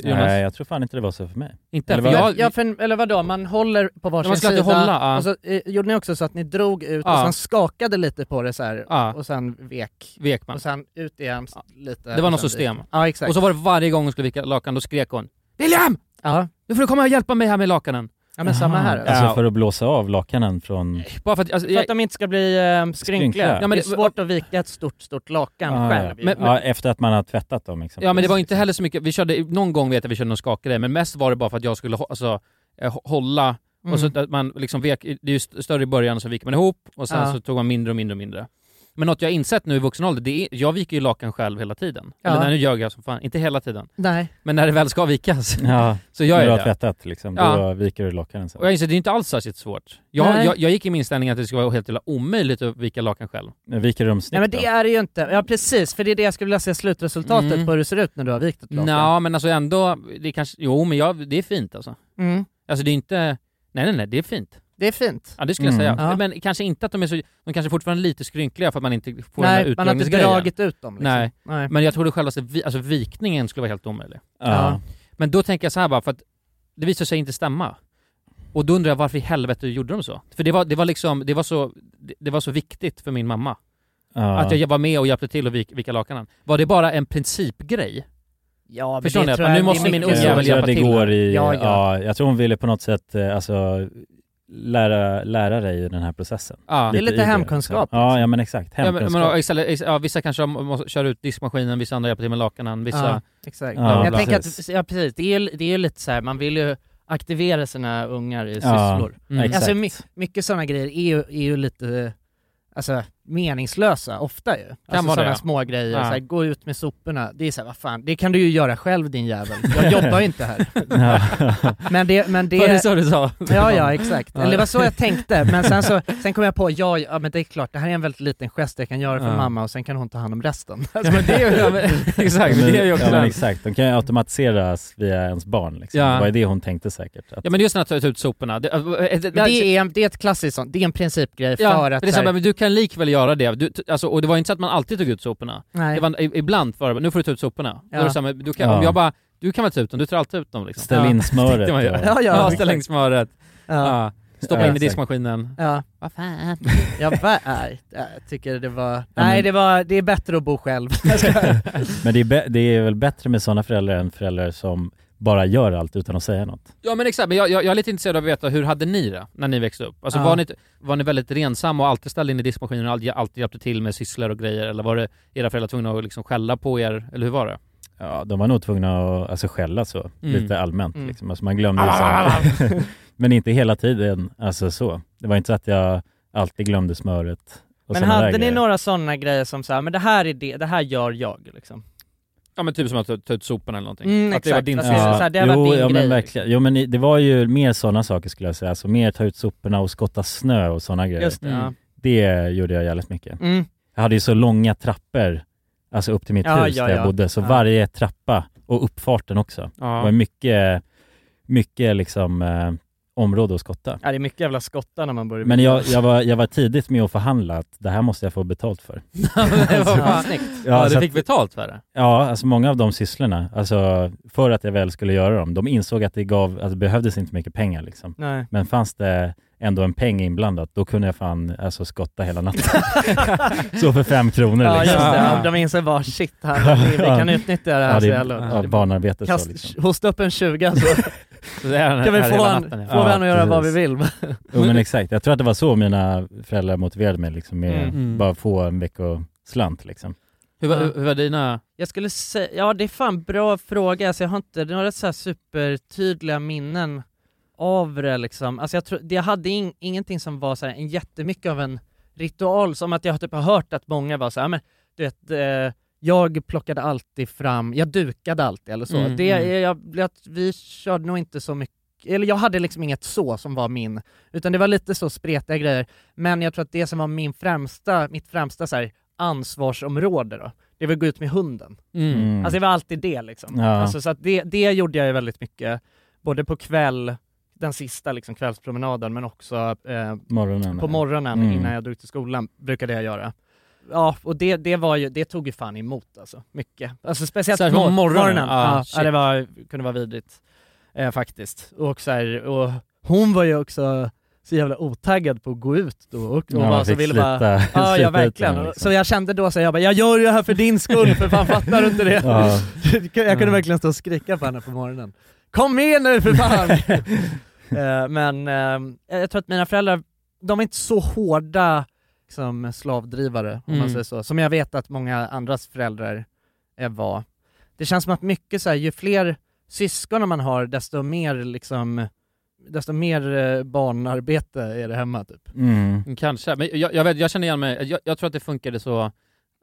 D: Jonas?
B: Nej, Eh, jag tror fan inte det var så för mig.
D: Inte?
B: Eller
D: För
B: vad-
D: jag-
A: Ja, för, eller vadå, man håller på varsin
D: Man ska alltid
A: sida,
D: hålla, ja.
A: och så eh, gjorde ni också så att ni drog ut och
D: Ja.
A: sen skakade lite på det så här,
D: Ja.
A: och sen vek.
D: Vek man.
A: Och sen ut igen s- lite.
D: Det var
A: och
D: något
A: sen
D: system.
A: dit. Ja exakt.
D: Och så var det varje gång hon skulle vika lakan, då skrek hon William!
A: Ja.
D: Nu får du komma och hjälpa mig här med lakanen.
A: Ja men samma här.
B: Alltså för att blåsa av lakanen från...
D: Bara för att, alltså,
A: För att de inte ska bli eh, skrynkliga.
B: Skrynkliga.
A: Ja, men det är svårt att vika ett stort, stort lakan
B: Ah, ja.
A: själv. ju.
B: ja, efter att man har tvättat dem liksom. exempelvis.
D: Ja men det var inte heller så mycket, vi körde, någon gång vet jag vi körde någon skakare, men mest var det bara för att jag skulle hå- alltså, eh, hå- hålla,
A: Mm.
D: och så att man liksom vek, det är ju st- större i början och så viker man ihop, och sen
A: Ja.
D: så tog man mindre och mindre och mindre. Men något jag har insett nu i vuxen ålder, det är, jag viker ju lakan själv hela tiden.
A: Ja.
D: Eller nej, nu ljög jag som fan. Inte hela tiden.
A: Nej.
D: Men när det väl ska vikas,
B: Ja,
D: så gör
B: när
D: jag
B: du har
D: det.
B: tvättat liksom, då
D: Ja.
B: viker du lakanen sen.
D: Och jag inser, det är inte alls särskilt svårt. Jag,
A: Nej.
D: jag, jag gick i min ställning att det skulle vara helt jävla omöjligt att vika lakan själv.
B: Men Viker du dem
A: Nej
B: snyggt
A: men det är det ju inte. Ja precis, för det är det jag skulle vilja se slutresultatet
D: Mm.
A: på hur det ser ut när du har vikt ett lakan.
D: Nja, men alltså ändå, det kanske, jo men jag, det är fint alltså.
A: Mm.
D: Alltså det är inte, nej nej nej, det är fint.
A: Det är fint.
D: Ja det skulle
A: Mm.
D: jag säga.
A: Ja.
D: Men kanske inte att de är så, de kanske fortfarande är lite skrynkliga för att man inte får
A: Nej,
D: den här
A: man har inte
D: utdragningsgrejen.
A: dragit ut dem, liksom.
D: nej.
A: Nej.
D: men jag trodde själv att vi, alltså, vikningen skulle vara helt omöjlig.
B: Ja.
D: Men då tänker jag så här bara, för att det visar sig inte stämma. Och då undrar jag varför i helvete gjorde de så? För det var, det var liksom, det var så, det- det var så viktigt för min mamma.
B: Ja.
D: Att jag var med och hjälpte till att vika, vika lakanen. Var det bara en principgrej?
A: Ja, men
D: Förstår
A: det
D: ni?
A: tror
D: Att nu
A: jag
D: måste
A: är
D: min
A: mycket-
D: unge
B: Jag
D: väl
B: tror att
D: hjälpa
B: det
D: till.
B: går i, ja,
A: Ja, ja.
B: jag tror hon ville på något sätt eh, alltså, lära, lära dig den här processen.
D: Ja. Det är lite
B: i liksom.
D: hemkunskap,
B: Ja, ja, men exakt.
D: Ja, men, men, ja,
B: Hemkunskap.
D: istället, ist- ja, vissa kanske måste, kör ut diskmaskinen, vissa andra hjälper till med lakanen, vissa...
A: Ja, exakt.
D: Bla, bla,
A: jag
D: bla.
A: tänker att, ja precis, det är ju, det är ju lite så här, man vill ju aktivera sina ungar i sysslor.
B: mm. exakt.
A: Alltså my, mycket sådana grejer är ju, är ju lite alltså, meningslösa, ofta ju.
D: vara
A: Alltså
D: det,
A: sådana
D: ja.
A: små grejer,
D: Ja.
A: så här, gå ut med soporna, det är så här, vad fan, det kan du ju göra själv din jävel. Jag jobbar ju inte här.
B: Ja.
A: Men det, men det...
D: Var det så du sa?
A: Ja, ja, exakt.
D: Ja.
A: Eller det var så jag tänkte, men sen så, sen kom jag på, ja, ja men det är klart, det här är en väldigt liten gest jag kan göra för
B: Ja.
A: mamma och sen kan hon ta hand om resten. Alltså, men det är ju, ja, men,
D: exakt, men det är ju också
B: ja, men
D: den.
B: exakt. De kan ju automatiseras via ens barn liksom.
D: Ja.
B: Det var ju det hon tänkte säkert. Att,
D: Ja men just när att ta ut soporna. Det, äh, äh, det,
A: Men det, är, en- det är ett klassiskt sånt, det är en principgrej
D: ja,
A: för att...
D: det är så
A: så
D: här,
A: här,
D: men du kan likväl göra det. Du, t- alltså, och det var inte så att man alltid tog ut soporna.
A: Nej.
D: Det var, i- ibland var det nu får du ta ut soporna. Då
A: Ja.
D: är det så här, men du kan,
B: Ja.
D: om jag bara, du kan väl ta ut dem, du tar alltid ut dem liksom.
B: Ställ in smöret
D: Tänkte man ju.
B: då.
D: ja, ja,
A: Ja,
D: ställ in
A: exakt.
D: smöret. Ja.
A: Ja.
D: Stoppa
A: Ja,
D: in i
A: exakt.
D: diskmaskinen.
A: ja.
D: Vad fan?
A: Jag bara, nej, jag äh, tycker det var... Nej,
B: men-
A: det, var, det är bättre att bo själv.
B: Men det är, bä- det är väl bättre med sådana föräldrar än föräldrar som bara gör allt utan att säga något.
D: Ja men exakt, men jag, jag, jag är lite intresserad av att veta hur hade ni det när ni växte upp? Alltså
A: Ja.
D: var, ni, var ni väldigt rensamma och alltid ställde in i diskmaskinen och alltid, alltid hjälpte till med sysslor och grejer? Eller var det era föräldrar tvungna att liksom skälla på er? Eller hur var det?
B: Ja, de var nog tvungna att alltså, skälla så,
D: Mm.
B: lite allmänt.
D: Mm.
B: Liksom. Alltså, man glömde ju
A: Ah!
B: så. Men inte hela tiden, alltså så. Det var inte så att jag alltid glömde smöret. Och
A: men
B: såna där
A: hade ni
B: grejer.
A: några sådana grejer som så här, men det här är det, det här gör jag liksom?
D: Ja men typ som att ta, ta ut soporna eller någonting.
A: Mm,
D: att det var
A: exakt.
D: din
A: Alltså, så här, det har varit
B: jo,
A: din
B: ja,
A: grej.
B: men verkligen. Jo, men i- det var ju mer sådana saker skulle jag säga. Alltså mer ta ut soporna och skotta snö och sådana grejer.
A: Just det, ja.
B: Det gjorde jag jävligt mycket.
A: Mm.
B: Jag hade ju så långa trappor, alltså upp till mitt
A: Ja,
B: hus
A: ja,
B: där jag
A: ja.
B: bodde. Så
A: Ja.
B: varje trappa och uppfarten också.
D: Ja.
B: Det var mycket, mycket liksom eh, område att skotta.
A: Ja, det är mycket jävla skottar när man börjar
B: Men jag, jag, var, jag var tidigt med att förhandla att det här måste jag få betalt för.
D: det var fan snyggt. Ja,
B: så
D: du
B: att-
D: fick betalt för det?
B: Ja, alltså många av de sysslorna, alltså för att jag väl skulle göra dem, de insåg att det, gav, att det behövdes inte mycket pengar liksom.
A: Nej.
B: Men fanns det ändå en peng inblandat, då kunde jag fan alltså, skotta hela natten. så för fem kronor
A: Ja just
B: liksom.
A: det, ja, de inser bara shit, här, vi, vi kan utnyttja det här
B: Ja, det
A: så
B: är-
A: jävla...
B: ja, barnarbete så,
A: Kast,
B: liksom.
A: Hosta upp en 20 så
D: Så det är den
A: kan vi
D: här
A: få
D: hela
A: han,
D: natten, ja.
A: få han att göra vad vi
B: precis.
A: vill.
B: Jo men exakt, jag tror att det var så mina föräldrar motiverade mig liksom, med
D: Mm.
B: bara få en veckoslant liksom.
D: Hur, var- hur var dina...
A: Jag skulle säga, ja det är fan bra fråga, alltså jag har inte några så här supertydliga minnen av det liksom. Alltså jag, tror, det- jag hade in, ingenting som var så här, en jättemycket av en ritual, som att jag typ har hört att många var så här, men du vet, eh, jag plockade alltid fram, jag dukade alltid eller så.
K: Mm,
A: det,
K: mm.
A: Jag, jag, vi körde nog inte så mycket, eller jag hade liksom inget så som var min, utan det var lite så spretiga grejer. Men jag tror att det som var min främsta, mitt främsta så här, ansvarsområde då, det var att gå ut med hunden.
D: Mm. Mm.
A: Alltså det var alltid det liksom.
D: Ja.
A: Alltså, så att det, det gjorde jag ju väldigt mycket, både på kväll, den sista liksom, kvällspromenaden, men också eh,
B: Morgonen,
A: på
B: ja.
A: morgonen
B: Mm.
A: innan jag drog till skolan, brukade jag göra. Ja, och det, det, var ju, det tog ju fan emot alltså, mycket. Alltså speciellt
D: Särskilt på
A: mor-
D: morgonen? Ah,
A: Ja, ja,
D: shit.
A: det var, kunde vara vidrigt eh, faktiskt. Och, så här, och hon var ju också så jävla otaggad på att gå ut då och, och
B: Ja, man
A: bara, så
B: fick
A: ville
B: slita-
A: bara... Ja,
B: slita
A: ja
B: ut
A: verkligen.
B: den, liksom.
A: Så jag kände då så här, jag bara, jag gör ju det här för din skull för fan fattar du inte det?
B: Ja.
A: jag kunde verkligen stå och skrika på henne på morgonen. Kom med nu för fan! Eh, men eh, jag tror att mina föräldrar, de är inte så hårda liksom, slavdrivare, om
D: Mm.
A: man säger så, som jag vet att många andras föräldrar eh, var. Det känns som att mycket så här, ju fler syskon man har, desto mer liksom desto mer eh, barnarbete är det hemma typ.
D: Mm. Kanske, men jag, jag, vet, jag känner igen mig, jag, jag tror att det funkade så,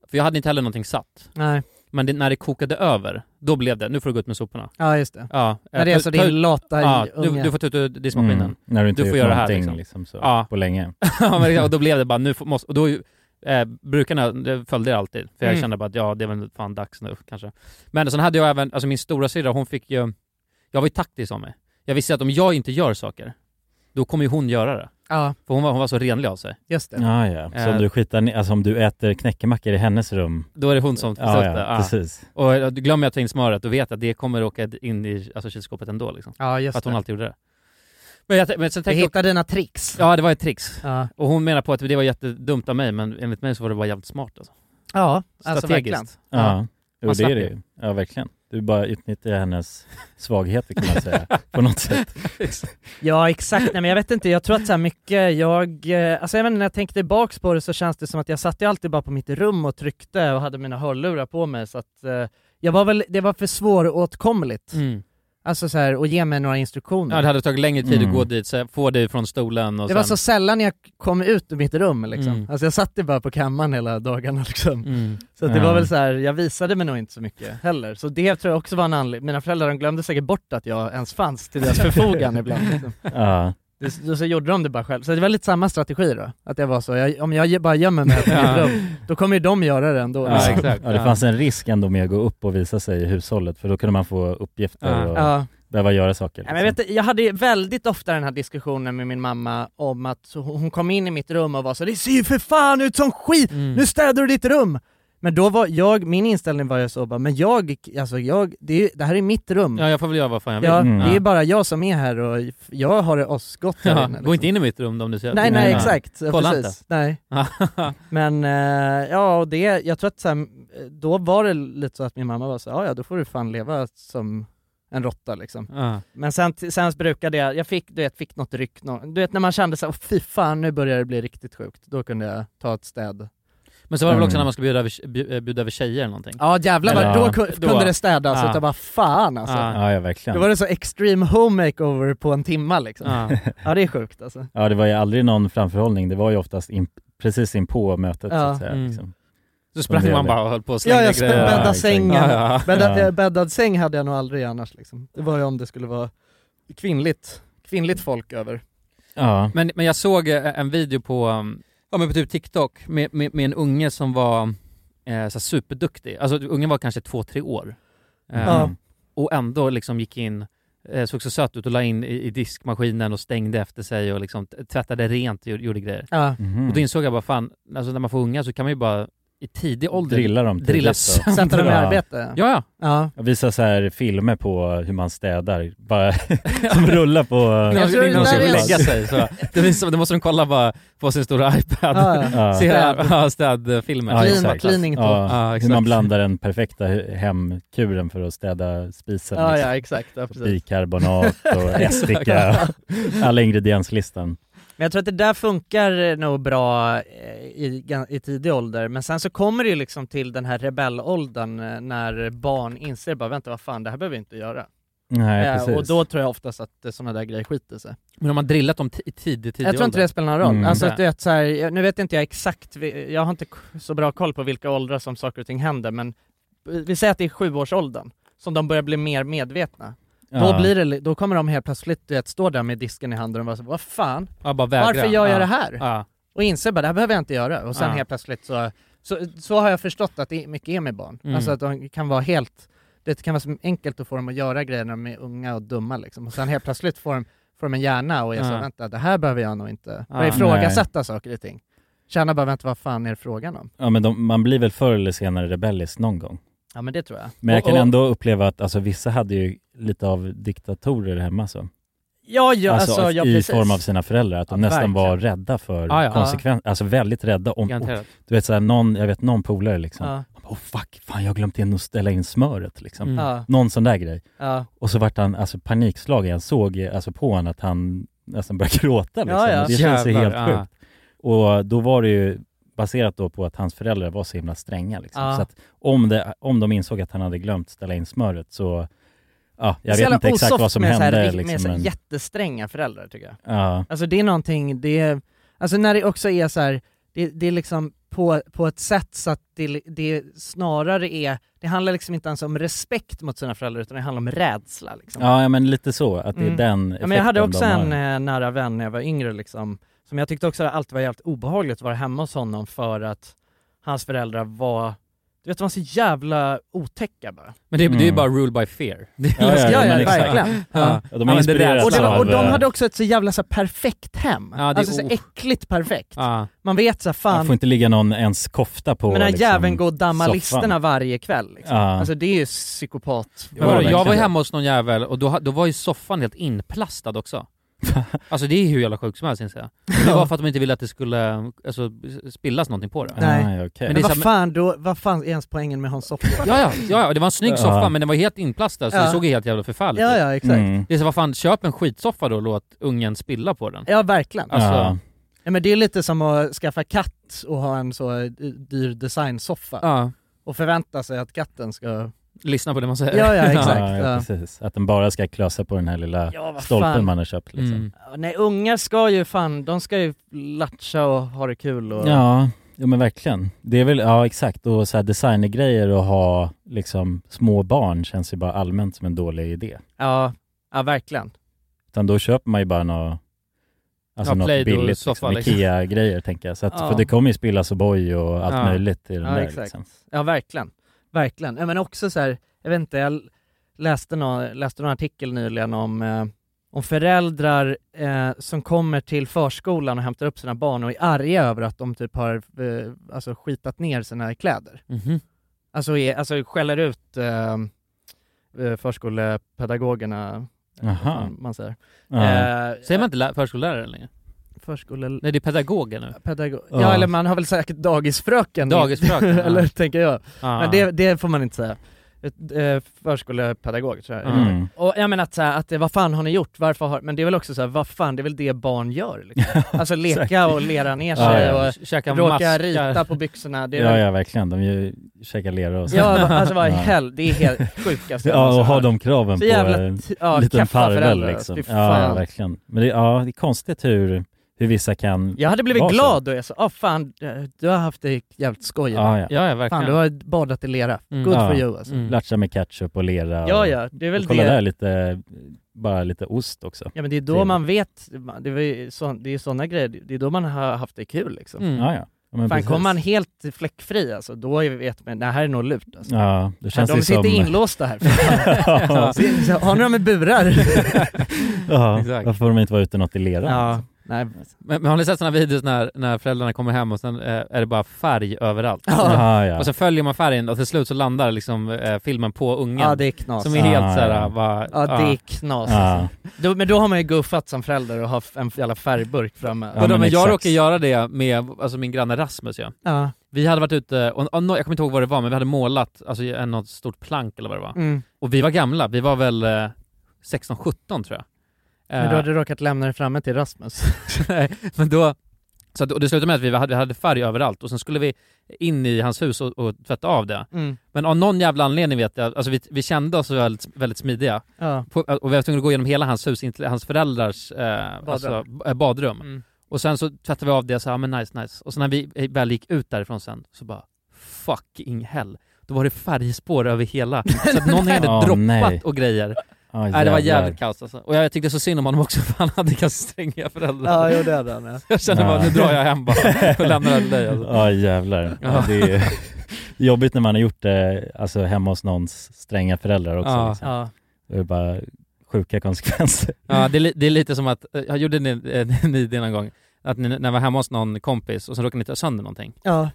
D: för jag hade inte heller någonting satt.
A: Nej.
D: Men det, när det kokade över, då blev det, nu får du gå ut med soporna.
A: Ja, just det.
D: Ja,
A: När det är så din låta
D: Eh, ja,
A: unge.
D: du, du får ta ut ur diskmaskinen.
B: Mm, när du inte gjort
D: göra det
B: någonting, liksom, så, på länge.
D: ja, men, och då blev det bara, nu får, måste, och då eh, brukarna det följde det alltid, för jag
B: Mm.
D: kände bara att ja, det är väl fan dags nu kanske. Men sen hade jag även, alltså min stora syrra, hon fick ju, jag var ju taktisk av mig. Jag visste att om jag inte gör saker, då kommer ju hon göra det.
A: Ja.
D: För hon var, hon var så renlig av sig.
A: Just det.
B: Ja, Ah, ja. Så om
D: Eh,
B: du, skitar, ner- alltså, om du äter knäckemackor i hennes rum,
D: Då är det hon som
B: Ja,
D: försökte.
B: ja, precis.
D: Och eh, glömmer jag att ta in smöret, då vet jag att det kommer åka in i alltså, kylskåpet ändå. Liksom.
A: Ja, just
D: För att hon
A: det.
D: alltid gjorde det. Men jag, men sen
A: Du
D: tänkte jag-
A: hittar dina tricks.
D: Ja, det var ett tricks.
A: Ja.
D: Och hon menar på att det var jättedumt av mig, men enligt mig så var det bara jävligt smart alltså.
A: Ja, alltså verkligen.
B: Ja, Jo,
D: Man
B: det
D: slapp
B: är det ju. Ja, verkligen. Du bara utnyttjar hennes svagheter kan man säga, på något sätt.
A: Ja exakt, nej men jag vet inte, jag tror att så här mycket, jag, eh, alltså även när jag tänker tillbaks på det så känns det som att jag satt ju alltid bara på mitt rum och tryckte och hade mina hörlurar på mig så att eh, jag var väl, det var för svåråtkomligt.
D: Mm.
A: Alltså så här, och ge mig några instruktioner.
D: Ja, det hade tagit längre tid
A: Mm.
D: att gå dit, så få dig från stolen och
A: Det var
D: sen...
A: så sällan jag kom ut ur mitt rum liksom.
D: Mm.
A: Alltså jag satt ju bara på kammaren hela dagarna liksom.
D: Mm.
A: Så att det
D: Ja.
A: var väl så här, jag visade mig nog inte så mycket heller. Så det tror jag också var en anledning, mina föräldrar de glömde säkert bort att jag ens fanns till deras förfogande ibland. Liksom.
B: Ja.
A: Det, då så gjorde de det bara själv. Så det var lite samma strategi då, att det var så, jag, om jag bara gömmer mig i
B: Ja.
A: mitt rum, då kommer ju de göra det ändå. liksom.
B: Ja, Ja, det fanns en risk ändå med att gå upp och visa sig i hushållet, för då kunde man få uppgifter
A: Ja.
B: och
A: Ja.
B: behöva göra saker.
A: Nej, men jag, vet, jag hade ju väldigt ofta den här diskussionen med min mamma om att så hon hon kom in i mitt rum och var så Det ser ju för fan ut som skit!
D: Mm.
A: Nu städar du ditt rum! Men då var jag, min inställning var ju så bara, men jag, alltså jag, det, är, ju- det här är mitt rum.
D: Ja, jag får väl göra vad fan jag vill.
A: Ja, Det är
D: Ja.
A: bara jag som är här och jag har det asgott här
D: Ja,
A: inne. liksom.
D: Gå inte in i mitt rum då, om du ser
A: Nej, nej, exakt. Ja,
D: Kolla
A: precis.
D: inte.
A: Nej. Men eh, ja, och det, jag tror att så här, eh, då var det lite så att min mamma var så här, "Ja, ja då får du fan leva som en råtta liksom.
D: Ja.
A: Men sen, sen brukade jag, jag fick, du vet, fick något ryck, nå- du vet när man kände såhär, fy fan nu börjar det bli riktigt sjukt, då kunde jag ta ett städ.
D: Men så var det väl också
A: Mm.
D: när man skulle bjuda över, bju- eh, bjuda över tjejer eller någonting?
A: Ja jävlar vad,
D: Eller-
A: då ku- kunde det städas
D: Ja.
A: utan bara fan alltså.
D: Ja.
B: liksom. Ja, ja, verkligen.
A: Då var det så extreme home makeover på en timma liksom.
B: Ja.
A: Ja, det är sjukt alltså.
B: Ja, det var ju aldrig någon framförhållning. Det var ju oftast in, precis in på mötet, så
A: Ja.
B: att säga.
A: Mm.
B: Liksom.
D: Så sprang
B: Som det
D: man
B: gällde.
D: bara och höll på och
A: Ja,
D: slängde
A: jag spänn-
D: grejer.
A: bädda
D: Ja, exakt.
A: sängen.
D: Ja, ja.
A: Bäddad,
D: Ja.
A: eh, Bäddad säng hade jag nog aldrig annars liksom. Det var ju om det skulle vara kvinnligt, kvinnligt folk över.
B: Ja.
D: Men, men jag såg eh, en video på, um, ja, men på typ TikTok med, med, med en unge som var eh, så här superduktig. Alltså ungen var kanske två, tre år.
B: Mm.
D: Eh,
A: Ja.
D: Och ändå liksom gick in, eh, såg så söt ut och la in i, i diskmaskinen och stängde efter sig och liksom t- tvättade rent och gjorde- gjorde grejer.
A: Ja.
B: Mhm.
D: Och då insåg jag bara fan, alltså när man får unga så kan man ju bara i tidig ålder
B: Drilla dem tidigt
D: drilla
B: då.
D: sönder
A: Sätta dem i arbete.
D: Ja, ja.
A: Ja.
B: Visa så här filmer på hur man städar, bara som rullar på...
D: Innan de- innan de skulle
B: Rullar.
D: lägga sig. Så. Det, finns, det måste de kolla bara på sin stora iPad.
B: Ja, ja.
D: Se
B: Städ.
D: ja, städfilmer.
B: Ja, exakt. Ja,
D: Ja,
B: Hur
D: exakt.
B: man blandar den perfekta he- hemkuren för att städa spisen.
A: Ja,
B: liksom.
A: ja, exakt. Ja, precis.
B: Bikarbonat och ättika, och alla ingredienslistan.
A: Men jag tror att det där funkar eh, nog bra eh, i, gan- i tidig ålder, men sen så kommer det ju liksom till den här rebellåldern eh, när barn inser bara vänta vad fan det här behöver vi inte göra.
B: Nej,
A: Eh,
B: precis.
A: och då tror jag oftast att sådana där grejer skiter sig.
D: Men om man drillat dem ti- i tidig, tidig
A: Jag tror inte
D: ålder.
A: det spelar någon roll.
D: Mm.
A: Alltså
D: Nej.
A: att du vet, så här, jag- nu vet inte jag exakt, vi- jag har inte k- så bra koll på vilka åldrar som saker och ting händer, men vi säger att det är sjuårsåldern som de börjar bli mer medvetna.
D: Ja.
A: Då, blir det, li- då kommer de helt plötsligt du vet, stå där med disken i handen och bara så, vad fan,
D: Ja, bara vägra.
A: varför gör jag
D: Ja.
A: det här?
D: Ja.
A: Och inser bara, det här behöver jag inte göra. Och sen
D: Ja.
A: helt plötsligt så, så, så har jag förstått att det är- mycket är med barn.
D: Mm.
A: Alltså att de kan vara helt, det kan vara så enkelt att få dem att göra grejer när de är unga och dumma liksom. Och sen helt plötsligt får de, får de en hjärna och är så,
D: Ja.
A: vänta, det här behöver jag nog inte.
B: Ja,
A: Börjar ifrågasätta saker och ting. Känna bara, vänta, vad fan är det frågan om?
B: Ja, men de, man blir väl förr eller senare rebellisk någon gång.
A: Ja men det tror jag.
B: Men jag
A: Och-
B: kan
A: och-
B: ändå uppleva att alltså, vissa hade ju lite av diktatorer hemma så.
A: Ja, ja, alltså, ja,
B: i
A: precis.
B: form av sina föräldrar, att de
A: Ja,
B: nästan
A: verkligen.
B: var rädda för
A: Ja, ja.
B: konsekvenser, alltså väldigt rädda om,
A: Garanterat.
B: du vet såhär, någon, jag vet någon polare liksom,
A: Ja.
B: han bara, oh fuck, fan jag har glömt in att ställa in smöret liksom.
A: Mm. Ja.
B: Någon sån där grej.
A: Ja.
B: Och så vart han alltså panikslagen, jag såg eh, alltså på honom att han nästan började gråta liksom.
A: Ja, ja.
B: Det känns ju
A: Jävlar,
B: helt
A: ja.
B: sjukt. Och då var det ju baserat då på att hans föräldrar var så himla stränga liksom.
A: Ja.
B: Så att om, det, om de insåg att han hade glömt ställa in smöret så Ja,
A: Det är
B: jag
A: så
B: vet
A: jävla
B: inte exakt
A: osoft
B: vad som
A: med så här,
B: hände
A: rikt- Med så
B: liksom,
A: här
B: men...
A: jättestränga föräldrar tycker jag.
B: Ja.
A: Alltså det är någonting, det är, alltså när det också är så här, det, det är liksom på, på ett sätt så att det, det snarare är, det handlar liksom inte ens om respekt mot sina föräldrar utan det handlar om rädsla. Liksom.
B: Ja, ja, men lite så, att det är
A: Mm.
B: den
A: ja, men Jag hade
B: effekten
A: också
B: de har.
A: en eh, nära vän när jag var yngre liksom, som jag tyckte också alltid var jävligt obehagligt att vara hemma hos honom för att hans föräldrar var, du vet de var så jävla otäcka bara.
D: Men det, det är
B: Mm.
D: ju bara rule by fear. Det är
A: Ja, ja,
D: liksom-
A: ja, men exakt. verkligen. Ja.
D: Ja, de har inspirerats
A: och, det var,
D: av...
A: och de
D: eh,
A: hade också ett så jävla så här, perfekt hem.
D: Ja, det-
A: alltså så
D: oh.
A: äckligt perfekt.
D: Ja.
A: Man vet så här, fan,
B: Man får inte ligga någon ens kofta på
A: men den här
B: liksom,
A: jäveln går och dammar
B: soffan.
A: listorna varje kväll. Liksom.
B: Ja.
A: Alltså det är ju psykopat.
D: Men vadå, jag var ju hemma hos någon jävel och då, ha- då var ju soffan helt inplastad också. alltså det är hur jävla sjukt som helst inser jag. Men Det var för att de inte ville att det skulle alltså, spillas någonting på det.
A: Nej.
D: Men
A: Men,
D: det är så
A: vad,
D: här-
A: fan då, vad fan är ens poängen med Hans soffa?
D: Ja, ja, ja, ja, det var en snygg soffa
A: Ja.
D: men den var helt inplastad så det
A: Ja.
D: såg ju helt jävla förfärligt
A: Ja,
D: ut.
A: ja,
B: liksom.
A: exakt. Mm.
D: Det är så vad fan, köp en skitsoffa då och låt ungen spilla på den.
A: Ja, verkligen.
D: Alltså,
B: Ja.
A: Ja, men det är lite som att skaffa katt och ha en så eh, dyr designsoffa.
D: Ja.
A: Och förvänta sig att katten ska...
D: Lyssna på det man säger.
A: Ja, ja, exakt.
B: Ja, ja,
A: Ja.
B: precis. Att den bara ska klösa på den här lilla
A: Ja, vad
B: stolpen
A: fan. Mm.
B: man har köpt liksom.
A: Nej, ungar ska ju fan, de ska ju latcha och ha det kul och...
B: Ja, jo, men verkligen. Det är väl, ja exakt, och så här designergrejer och ha liksom små barn känns ju bara allmänt som en dålig idé.
A: Ja, ja verkligen.
B: Utan då köper man ju bara något, alltså
A: Ja,
B: något
A: Play-Doh,
B: billigt, liksom,
A: soffa, liksom.
B: IKEA-grejer tänker jag. Så att,
A: Ja.
B: För det kommer ju spillas och boj och allt
A: Ja.
B: möjligt i den
A: ja,
B: där
A: exakt.
B: liksom.
A: Ja, verkligen. Verkligen. Ja, men också så här, jag vet inte, jag läste någon, läste någon artikel nyligen om, eh, om föräldrar eh, som kommer till förskolan och hämtar upp sina barn och är arga över att de typ har eh, alltså skitat ner sina kläder.
D: Mhm.
A: Alltså, är, alltså skäller ut eh, eh, förskolepedagogerna, eh,
D: Aha.
A: vad fan man säger. Eh,
D: Säger man inte lä- förskollärare längre?
A: Förskole...
D: Nej det är pedagoger nu.
A: Pedagog...
D: Ja.
A: Ja. eller man har väl säkert dagisfröken.
D: Dagisfröken, ja.
A: eller tänker jag.
D: Ja.
A: Men det, det får man inte säga. Ett, eh, Förskolepedagog tror jag.
B: Mm.
A: Och jag menar att, så här, att det, vad fan har ni gjort? Varför har... Men det är väl också så här, vad fan, det är väl det barn gör liksom. Alltså leka och lera ner sig
B: Ja, ja.
A: och
D: Käka
A: råka
D: maskar.
A: rita på byxorna. Det är
B: Ja,
A: väl...
B: ja verkligen. De ju käkar lera och så.
A: Ja, alltså vad i
B: Ja.
A: hell, det är helt sjukaste jag
B: Ja,
A: någonsin
B: och ha
A: hört.
B: de kraven
A: Så
B: på
A: jävla
B: en
A: t- ja,
B: liten
A: kaffa
B: farväl
A: föräldrar,
B: liksom.
A: fy
B: Ja, ja,
A: fan.
B: verkligen. Men det, ja, det är konstigt hur, hur vissa kan
A: Jag hade blivit
B: vara så.
A: glad då jag sa, åh fan, eh, du har haft det jävligt skoj.
B: Ja, ja. Ja, ja, verkligen.
A: Fan, du har badat i lera.
B: Mm.
A: Good
B: Ja.
A: for you alltså.
B: Latcha med ketchup och lera
A: Ja,
B: och,
A: ja, det är väl
B: och kolla
A: det.
B: där lite, bara lite ost också.
A: Ja men det är då
B: Trevligt.
A: man vet, det är ju så, det är sådana grejer, det är då man har haft det kul liksom.
B: Mm. Ja, ja. Ja, men
A: Fan,
B: precis.
A: kommer man helt fläckfri alltså, då är- vet man, det här är nog lurt alltså.
B: Ja, det känns
A: de
B: ju
A: sitter
B: som-
A: inlåsta här.
B: Ja.
A: Så- Har ni dem i burar?
B: Ja,
D: Exakt.
B: varför får de inte vara ute något i lera?
A: Ja.
B: liksom?
A: Nej.
D: Men, men har ni sett sådana videos när, när föräldrarna kommer hem och sen eh, är det bara färg överallt?
B: Ja, ja.
D: Och sen följer man färgen och till slut så landar liksom eh, filmen på ungen.
A: Ja det är knas.
D: Som är helt såhär, bara,
A: Ja det är knas alltså. då, Men då har man ju guffat som förälder och har f- en jävla färgburk framme.
D: Vadå, men, jag råkar göra det med alltså, min granne Rasmus ja.
A: Ja.
D: Vi hade varit ute, och, och, nå- jag kommer inte ihåg vad det var, men vi hade målat alltså, en, något stort plank eller vad det var.
A: Mm.
D: Och vi var gamla, vi var väl eh, 16-17 tror jag.
A: Men
D: Eh,
A: du hade råkat lämna det framme till Rasmus.
D: Nej, Eh, men då... Så att, och det slutade med att vi hade, vi hade färg överallt och sen skulle vi in i hans hus och, och tvätta av det.
A: Mm.
D: Men av någon jävla anledning vet jag, alltså vi, vi kände oss väldigt, väldigt smidiga.
A: Ja.
D: På, och vi var tvungna att gå igenom hela hans hus, inte- hans föräldrars eh, badrum. Alltså, b- eh, badrum.
A: Mm.
D: Och sen så tvättade vi av det och sa, ja men nice, nice. Och sen när vi eh, väl gick ut därifrån sen, så bara fucking hell. Då var det färgspår över hela, så att någon hade
B: Åh,
D: droppat
B: nej.
D: och grejer.
B: Ja,
D: nej, det
B: jävlar.
D: var jävligt kaos alltså. Och jag tyckte så synd om honom också för han hade ganska stränga föräldrar.
A: Ja, jo, det hade han, ja.
D: Så Jag kände bara, nu drar jag hem bara och lämnar det till dig alltså.
B: Ja jävlar. Ja,
D: Ja.
B: det är jobbigt när man har gjort det alltså, hemma hos någons stränga föräldrar också.
D: Ja.
B: Liksom.
D: Ja.
B: Det är bara sjuka konsekvenser.
D: Ja, det är, li- det är lite som att, eh, jag gjorde ni, eh, ni det någon gång, att ni, när jag var hemma hos någon kompis och så råkade ni ta sönder någonting.
A: Ja.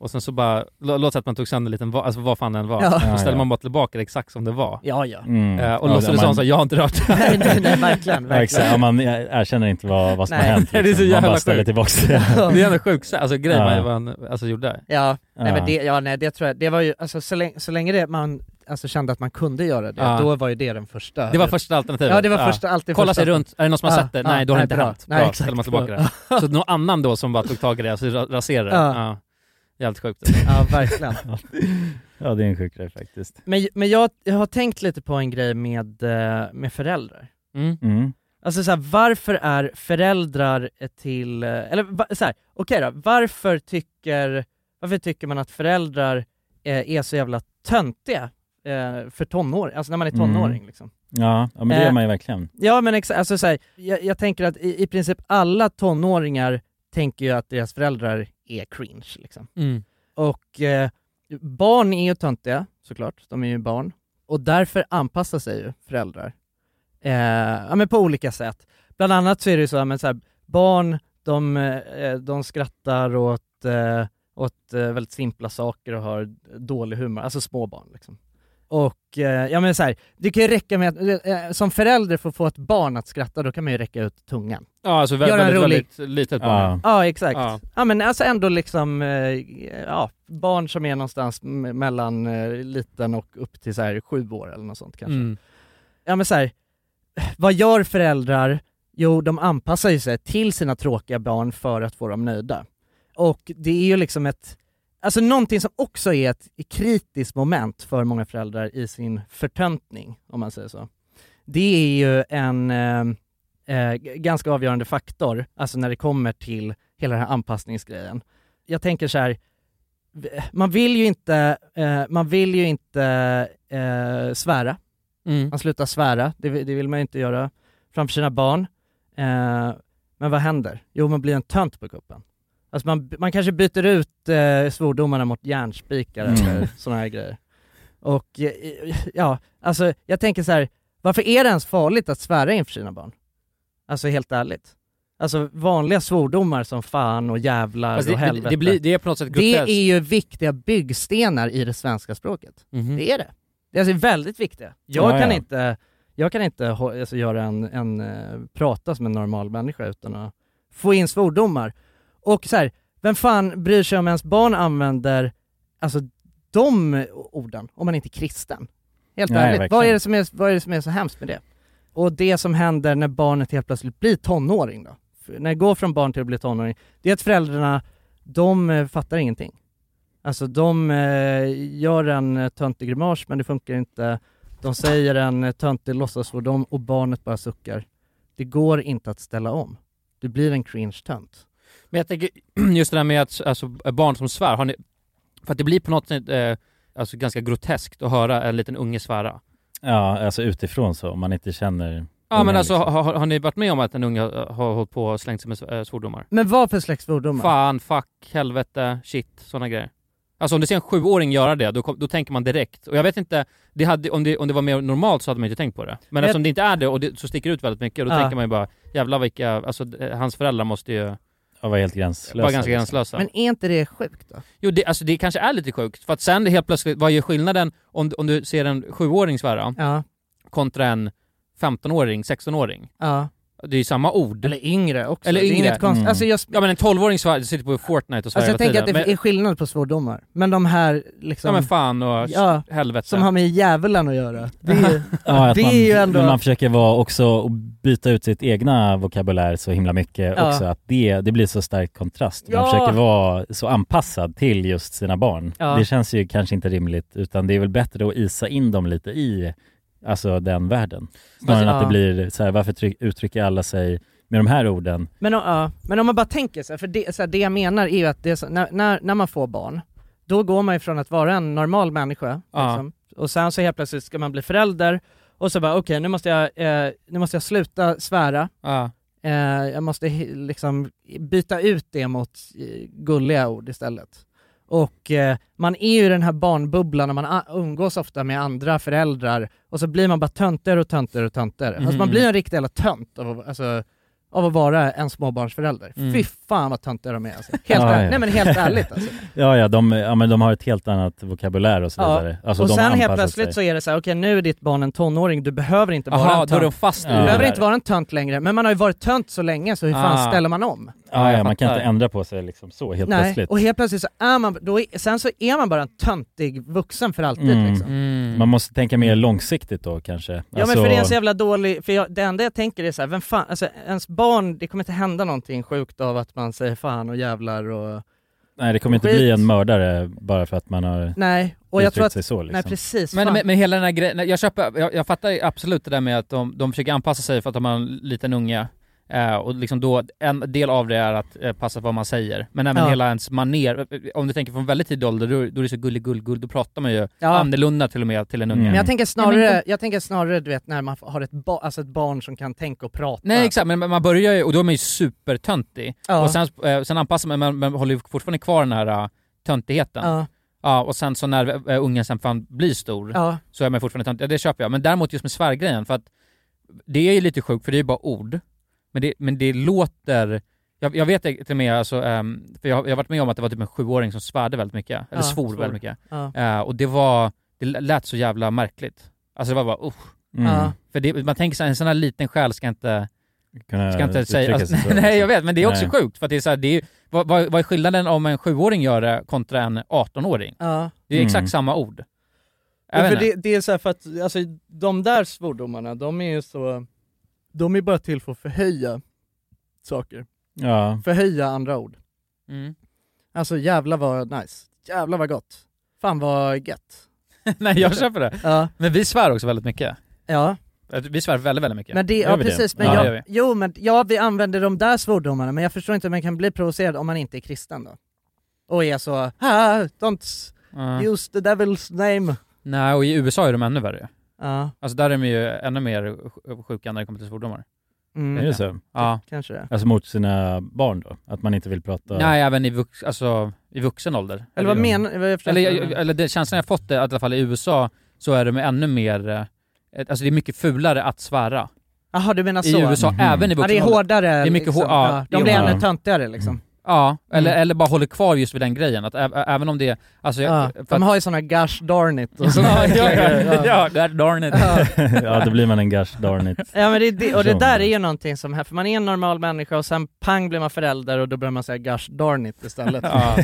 D: Och sen så bara, lå- låt säga att man tog sönder en liten, va- alltså vad fan den var,
A: Ja.
D: och så
A: Ja,
D: ställer
A: ja.
D: man bara tillbaka det exakt som det var.
A: Ja, ja.
B: Mm.
D: Eh, och
B: Ja,
D: låtsades
B: man-
D: som så, jag har inte rört det.
A: Nej, nej, nej, verkligen,
B: Ja, exakt. Ja, man erkänner inte vad, vad som
D: Nej.
B: har hänt.
D: Nej, det är så
B: liksom. Man
D: jävla
B: bara ställer
D: sjukt.
B: tillbaka det.
D: Det är ändå sjukt, alltså grejen
B: Ja.
D: ja. vad han alltså, gjorde.
A: Ja, nej
B: Ja.
A: men det, ja, nej, det tror jag, det var ju, alltså, så, länge, så länge det man alltså, kände att man kunde göra det,
D: Ja.
A: då var ju det den första
D: Det var första alternativet.
A: Ja det var första, alltid
D: Kolla
A: första
D: sig runt, är det någon som har
A: Ja,
D: sett det?
A: ja,
D: nej, då har det inte
A: bra.
D: hänt. Bra,
A: Nej, exakt.
D: ställer man tillbaka det. Så någon annan alltså, då som bara tog tag i det, så ra- raserade det.
A: Ja.
D: Ja. Jävligt sjukt.
A: Ja, verkligen.
B: Ja, det är en sjuk grej faktiskt.
A: Men, men jag, jag har tänkt lite på en grej med, eh, med föräldrar.
B: Mm. Mm.
A: Alltså så här, varför är föräldrar till, eh, eller va, så här, okej då, varför tycker, varför tycker man att föräldrar eh, är så jävla töntiga eh, för tonår, alltså när man är tonåring
B: Mm.
A: liksom?
B: Ja, ja, men det gör
A: Eh,
B: man ju verkligen.
A: Ja men exakt, alltså så här, jag, jag tänker att i, i princip alla tonåringar tänker ju att deras föräldrar är cringe liksom.
D: Mm.
A: Och eh, barn är ju töntiga såklart, de är ju barn. Och därför anpassar sig ju föräldrar. Eh, ja men på olika sätt. Bland annat så är det ju så, här, men så här, barn de, eh, de skrattar åt, eh, åt eh, väldigt simpla saker och har dålig humor, alltså små barn liksom. Och eh, ja men så här, det kan ju räcka med att, eh, som förälder får få ett barn att skratta, då kan man ju räcka ut tungan.
D: Ja, alltså väldigt,
A: Göra en
D: väldigt,
A: rolig-
D: väldigt litet barn.
A: Ja exakt.
D: Ja.
A: Ja. men alltså ändå liksom, eh, ja, barn som är någonstans m- mellan eh, liten och upp till så här sju år eller något sånt kanske.
D: Mm.
A: Ja men så här, vad gör föräldrar? Jo, de anpassar ju sig till sina tråkiga barn för att få dem nöjda. Och det är ju liksom ett, alltså någonting som också är ett kritiskt moment för många föräldrar i sin förtöntning, om man säger så. Det är ju en eh, eh, g- ganska avgörande faktor, alltså när det kommer till hela den här anpassningsgrejen. Jag tänker så här, v- man vill ju inte, eh, man vill ju inte eh, svära. Man slutar svära, det, vi- det vill man ju inte göra framför sina barn. Eh, men vad händer? Jo, man blir en tönt på kuppen. Alltså man, man kanske byter ut eh, svordomarna mot järnspikar
D: Mm.
A: eller sådana här grejer. Och eh, ja, alltså jag tänker så här, varför är det ens farligt att svära inför sina barn? Alltså helt ärligt. Alltså vanliga svordomar som fan och jävlar
D: Fast
A: och
D: Alltså, det-
A: helvete.
D: det blir- det är på något sätt
A: Det
D: groteskt.
A: är ju viktiga byggstenar i det svenska språket.
D: Mhm.
A: Det är det. Det är alltså väldigt viktiga. Jag
D: Mm-hmm. Ja,
A: kan
D: ja.
A: inte, jag kan inte hå- alltså, göra en, en, eh, prata som en normal människa utan att få in svordomar. Och så här, vem fan bryr sig om ens barn använder alltså de orden om man inte är kristen? Helt
B: Nej,
A: ärligt, vad
B: verkligen.
A: är, det som är, vad är det som är så hemskt med det? Och det som händer när barnet helt plötsligt blir tonåring då? För när det går från barn till att bli tonåring, det är att föräldrarna, de eh, fattar ingenting. Alltså de eh, gör en eh, töntig grimas men det funkar inte. De säger en eh, töntig låtsasvordom och barnet bara suckar. Det går inte att ställa om. Du blir en cringe-tönt.
D: Men jag tänker, just det där med att alltså, barn som svär, har ni, för att det blir på något sätt eh, alltså, ganska groteskt att höra en liten unge svära.
B: Ja, alltså utifrån så, om man inte känner...
D: Ja men
B: ungen
D: alltså
B: liksom.
D: har, har, har ni varit med om att en unge har, har hållit på och slängt sig med s- eh, svordomar?
A: Men vad för slags svordomar?
D: Fan, fuck, helvete, shit, sådana grejer. Alltså om du ser en sjuåring göra det, då, kom- då tänker man direkt. Och jag vet inte, det hade, om, det, om det var mer normalt så hade man inte tänkt på det. Men
A: Jag-
D: eftersom det inte är det och det, så sticker det ut väldigt mycket, då
A: Ja.
D: tänker man ju bara jävlar vilka, alltså eh, hans föräldrar måste ju
B: Ja, var helt gränslösa.
D: vara ganska
B: liksom.
D: gränslösa.
A: Men är inte det sjukt då?
D: Jo, det, alltså det kanske är lite sjukt, för att sen helt plötsligt, vad gör skillnaden om, om du ser en sjuåring svära
A: Ja.
D: kontra en 15-åring, 16-åring?
A: Ja.
D: Det är ju samma ord.
A: Eller yngre också.
D: Eller
A: Det är
D: yngre.
A: inget konstigt. Mm. Alltså, jag-
D: Ja men en 12-åring svär, sitter på Fortnite och svär
A: Alltså jag
D: hela
A: tänker att det
D: tiden.
A: är skillnad på svordomar, men de här liksom...
D: Ja men fan och
A: Ja,
D: helvete.
A: som har med djävulen att göra. Det är ju,
B: Ja, att
A: det
B: man,
A: är ju ändå...
B: men man försöker vara också och byta ut sitt egna vokabulär så himla mycket
A: Ja.
B: också. Att det, det blir så stark kontrast. Man
A: Ja.
B: försöker vara så anpassad till just sina barn.
A: Ja.
B: Det känns ju kanske inte rimligt utan det är väl bättre att isa in dem lite i alltså, den världen. Snarare än
A: Fast-
B: att det
A: ja.
B: blir så här, varför tryck, uttrycker alla sig med de här orden?
A: Men, om- ja, men om man bara tänker så här, för det, så här, det jag menar är ju att det, är så- när, när, när man får barn, då går man ju från att vara en normal människa,
D: Ja.
A: liksom, och sen så helt plötsligt ska man bli förälder, och så bara okej nu måste jag, eh, nu måste jag sluta svära,
D: Ja.
A: eh, jag måste he- liksom byta ut det mot eh, gulliga ord istället. Och eh, man är ju i den här barnbubblan och man a- umgås ofta med andra föräldrar och så blir man bara töntigare och töntigare och töntigare. Alltså man
D: Mm.
A: blir en riktig jävla tönt av, att- alltså, av att vara en småbarnsförälder.
B: Mm.
A: Fy fan vad töntiga de är alltså. Helt,
B: Ja,
A: ärligt.
B: ja.
A: Nej, men helt ärligt alltså.
B: Ja, ja, de, ja men de har ett helt annat vokabulär och så vidare. Alltså,
A: och
B: de
A: sen helt
B: anpassar
A: plötsligt
B: sig.
A: så är det så här, okej nu är ditt barn en tonåring, du behöver inte vara
D: Aha,
A: en
D: då är
A: tönt.
D: de fast i
A: du
D: det
A: behöver
D: där.
A: inte vara en tönt längre, men man har ju varit tönt så länge så hur fan
B: Ah.
A: ställer man om?
B: Ja, ja,
D: jag
B: man kan
D: fattar.
B: inte ändra på sig liksom så helt
A: Nej,
B: plötsligt.
A: och helt plötsligt så är man, då är, sen så är man bara en töntig vuxen för alltid
B: Mm.
A: liksom.
B: Man måste tänka mer långsiktigt då kanske.
A: Mm.
B: Alltså,
A: Ja men för det är en så jävla dålig, för jag, det enda jag tänker är så här, vem fan, alltså ens barn, det kommer inte hända någonting sjukt av att man säger fan och jävlar och
B: Nej det kommer inte
A: Skit.
B: bli en mördare bara för att man har
A: Nej, och jag
B: uttryckt
A: tror att...
B: sig så liksom.
A: Nej precis,
D: Men,
A: fan.
D: men, men hela den här grejen, nej, jag, köper, jag, jag fattar ju absolut det där med att de, de försöker anpassa sig för att de har en liten unge. Eh, och liksom då, en del av det är att eh, passa på vad man säger. Men även
A: Ja.
D: hela ens maner om du tänker från väldigt tidig ålder, då, då är det så gullig gull, gull, då pratar man ju
A: Ja. Mm.
D: annorlunda till och med till en unge.
A: Men jag tänker
D: Nej, men
A: snarare, jag tänker snarare du vet när man har ett, ba- alltså ett barn som kan tänka och prata.
D: Nej exakt, men man börjar ju, och då är man ju supertöntig.
A: Ja.
D: Och sen, eh, sen anpassar man, men man håller ju fortfarande kvar den här eh, töntigheten.
A: Ja.
D: Ja, och sen så när eh, ungen sen fan blir stor
A: Ja.
D: så är man fortfarande töntig. Ja, det köper jag. Men däremot just med svärgrejen, för att det är ju lite sjukt för det är ju bara ord. Men det, men det låter... Jag, jag vet till och med, alltså, ehm, för jag, har- jag har varit med om att det var typ en sjuåring som svärde väldigt mycket, eller
A: Ja,
D: svor
A: svor.
D: väldigt mycket.
A: Ja.
D: Eh, och det var, det lät så jävla märkligt. Alltså det var bara usch.
B: Mm. Ja.
D: För det, man tänker såhär, en sån här liten själ ska inte,
B: Kunna
D: ska inte säga...
B: uttrycka
D: Alltså,
B: sig så, liksom.
D: nej jag vet, men det är också
B: Nej.
D: sjukt för att det är såhär, det är ju- vad, vad, vad är skillnaden om en sjuåring gör det kontra en 18-åring?
A: Ja.
D: Det är exakt
A: Mm.
D: samma ord. Jag
A: Ja,
D: vet
A: för
D: inte.
A: det, det är så här för att, alltså de där svordomarna, de är ju så, de är bara till för att förhöja saker.
B: Ja.
A: Förhöja andra ord.
D: Mm.
A: Alltså jävla vad nice, jävla vad gott, fan vad gött.
D: Nej jag köper det.
A: Ja.
D: Men vi svär också väldigt mycket. Äh,
A: Ja.
D: Vi svär väldigt, väldigt mycket.
A: Men det,
D: Gör
A: ja
D: vi
A: precis, men
D: Ja, det gör
A: jag,
D: vi.
A: jo men ja vi använder de där svordomarna men jag förstår inte hur man kan bli provocerad om man inte är kristen då. Och är så, ah, don't s-
D: Ja.
A: use the devil's name.
D: Nej, och i USA är de ännu värre.
A: Ja.
D: Alltså där är de ju ännu mer sj- sjuka när det kommer till svordomar.
A: Mm.
D: Vet
B: Är det
D: jag.
B: så?
D: Ja.
A: Kanske det.
B: Alltså mot sina barn då? Att man inte vill prata...
D: Nej, även i, vux, alltså, i vuxen ålder.
A: Eller vad menar- vad jag förstår
D: Eller,
A: inte vad du
D: jag-
A: menar.
D: eller det känslan jag fått är att i alla fall i USA så är de ännu mer, eh, ett- alltså det är mycket fulare att svära.
A: Jaha du menar
D: I
A: så?
D: USA, även i vuxen
A: ja, det är
D: ålder.
A: hårdare
D: Det är mycket
A: liksom.
D: hår- ja, det
A: De
D: är
A: blir
D: hårdare.
A: ännu töntigare liksom.
D: Ja, eller,
A: Mm.
D: eller bara håller kvar just vid den grejen. Att ä- ä- även om det, alltså, jag,
A: Ja,
D: för att-
A: de har ju såna gosh darn it och såna
D: ja, ja,
A: grejer.
D: ja, ja, där, darn it.
B: ja, då blir man en gosh darn it.
A: Ja men det, är det, och det
B: person.
A: där är ju någonting som, här- för man är en normal människa och sen pang blir man förälder och då börjar man säga gosh darn it istället.
B: Ja.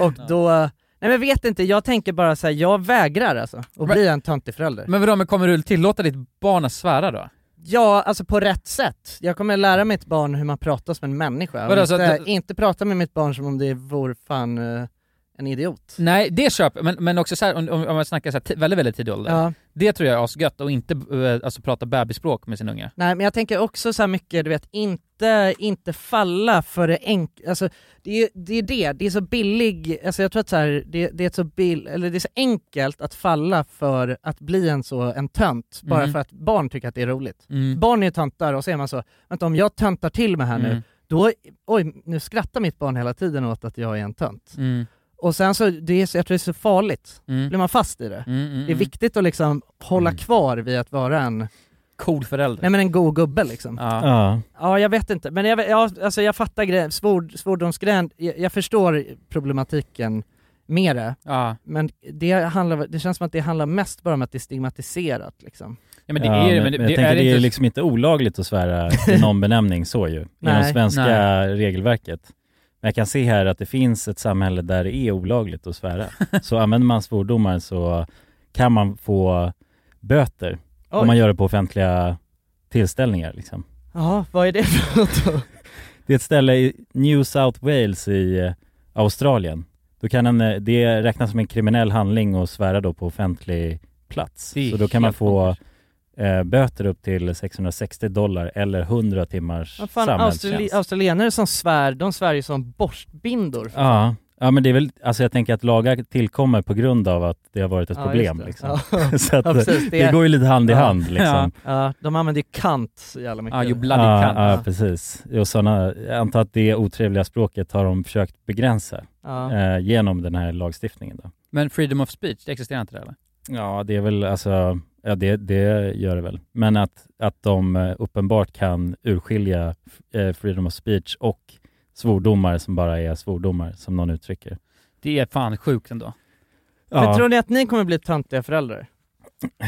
A: och då, nej men jag vet inte, jag tänker bara säga jag vägrar alltså att
D: Men-
A: bli en töntig förälder.
D: Men vadå, men kommer du tillåta ditt barn att svära då?
A: Ja, alltså på rätt sätt. Jag kommer lära mitt barn hur man pratar som en människa. Och
D: Vadå, så
A: inte,
D: att-
A: inte prata med mitt barn som om det vore fan eh, en idiot.
D: Nej, det köper men, men också så här, om, om om man snackar så här, ti- väldigt, väldigt tidig ålder.
A: Ja.
D: Det tror jag är asgött, och inte eh, alltså, prata bebisspråk med sin unge.
A: Nej men jag tänker också så här mycket, du vet, inte, inte falla för det enkla, alltså det är ju- det, är det, det är så billig, alltså jag tror att så här, det, det är ett så bill, eller det är så enkelt att falla för att bli en så, en tönt, bara
D: Mm.
A: för att barn tycker att det är roligt.
D: Mm.
A: Barn är ju töntar och så är man så, vänta om jag töntar till mig här nu,
D: Mm.
A: då, oj, nu skrattar mitt barn hela tiden åt att jag är en tönt.
D: Mm.
A: Och sen så, det är, så- jag tror det är så farligt,
D: Mm.
A: blir man fast i det.
D: Mm, mm,
A: det är
D: mm.
A: viktigt att liksom hålla kvar vid att vara en
D: Cool förälder.
A: Nej men en god gubbe liksom.
D: Ja.
B: Ja.
A: Ja, jag vet inte. Men jag, vet- ja, alltså jag fattar gre- svord, svordomsgrejen. Jag, jag förstår problematiken med det.
D: Ja.
A: Men det, handlar, det känns som att det handlar mest bara om att det är stigmatiserat liksom.
D: Ja, men det är ju- men det-
B: jag
D: det
B: tänker
D: är
B: det är
D: inte-
B: liksom inte olagligt att svära i någon benämning så ju, i
A: Nej.
B: det svenska
A: Nej.
B: regelverket. Men jag kan se här att det finns ett samhälle där det är olagligt att svära. så använder man svordomar så kan man få böter
A: Oj.
B: om man gör det på offentliga tillställningar liksom.
A: Ja, vad är det för något då?
B: Det är ett ställe i New South Wales i eh, Australien. Då kan en, eh, det räknas som en kriminell handling och svära då på offentlig plats.
D: Det är
B: Så då kan man
D: helt
B: få eh, böter upp till 660 dollar eller 100 timmars
A: Vad fan,
B: samhällstjänst.
A: Australi- australienare som svär, de svär ju som borstbindor. för fan.
B: Ja, ja, men det är väl, alltså jag tänker att lagar tillkommer på grund av att det har varit ett
A: Ja,
B: problem.
A: just det.
B: Liksom.
A: Ja.
B: Så att,
A: Ja,
B: eh,
A: precis.
B: det går ju lite hand i
A: Ja.
B: hand liksom.
A: Ja, de använder ju kant så jävla mycket.
D: Ja, you bloody
B: Ja,
D: cunt.
B: ja, precis. Och såna, jag antar att det otrevliga språket har de försökt begränsa
D: Ja.
B: eh, genom den här lagstiftningen. Då.
D: Men freedom of speech, det existerar inte det eller?
B: Ja, det är väl alltså, ja det, det gör det väl. Men att, att de eh, uppenbart kan urskilja eh, freedom of speech och svordomar som bara är svordomar, som någon uttrycker.
D: Det är fan sjukt ändå.
A: Men tror ni att ni kommer bli töntiga föräldrar?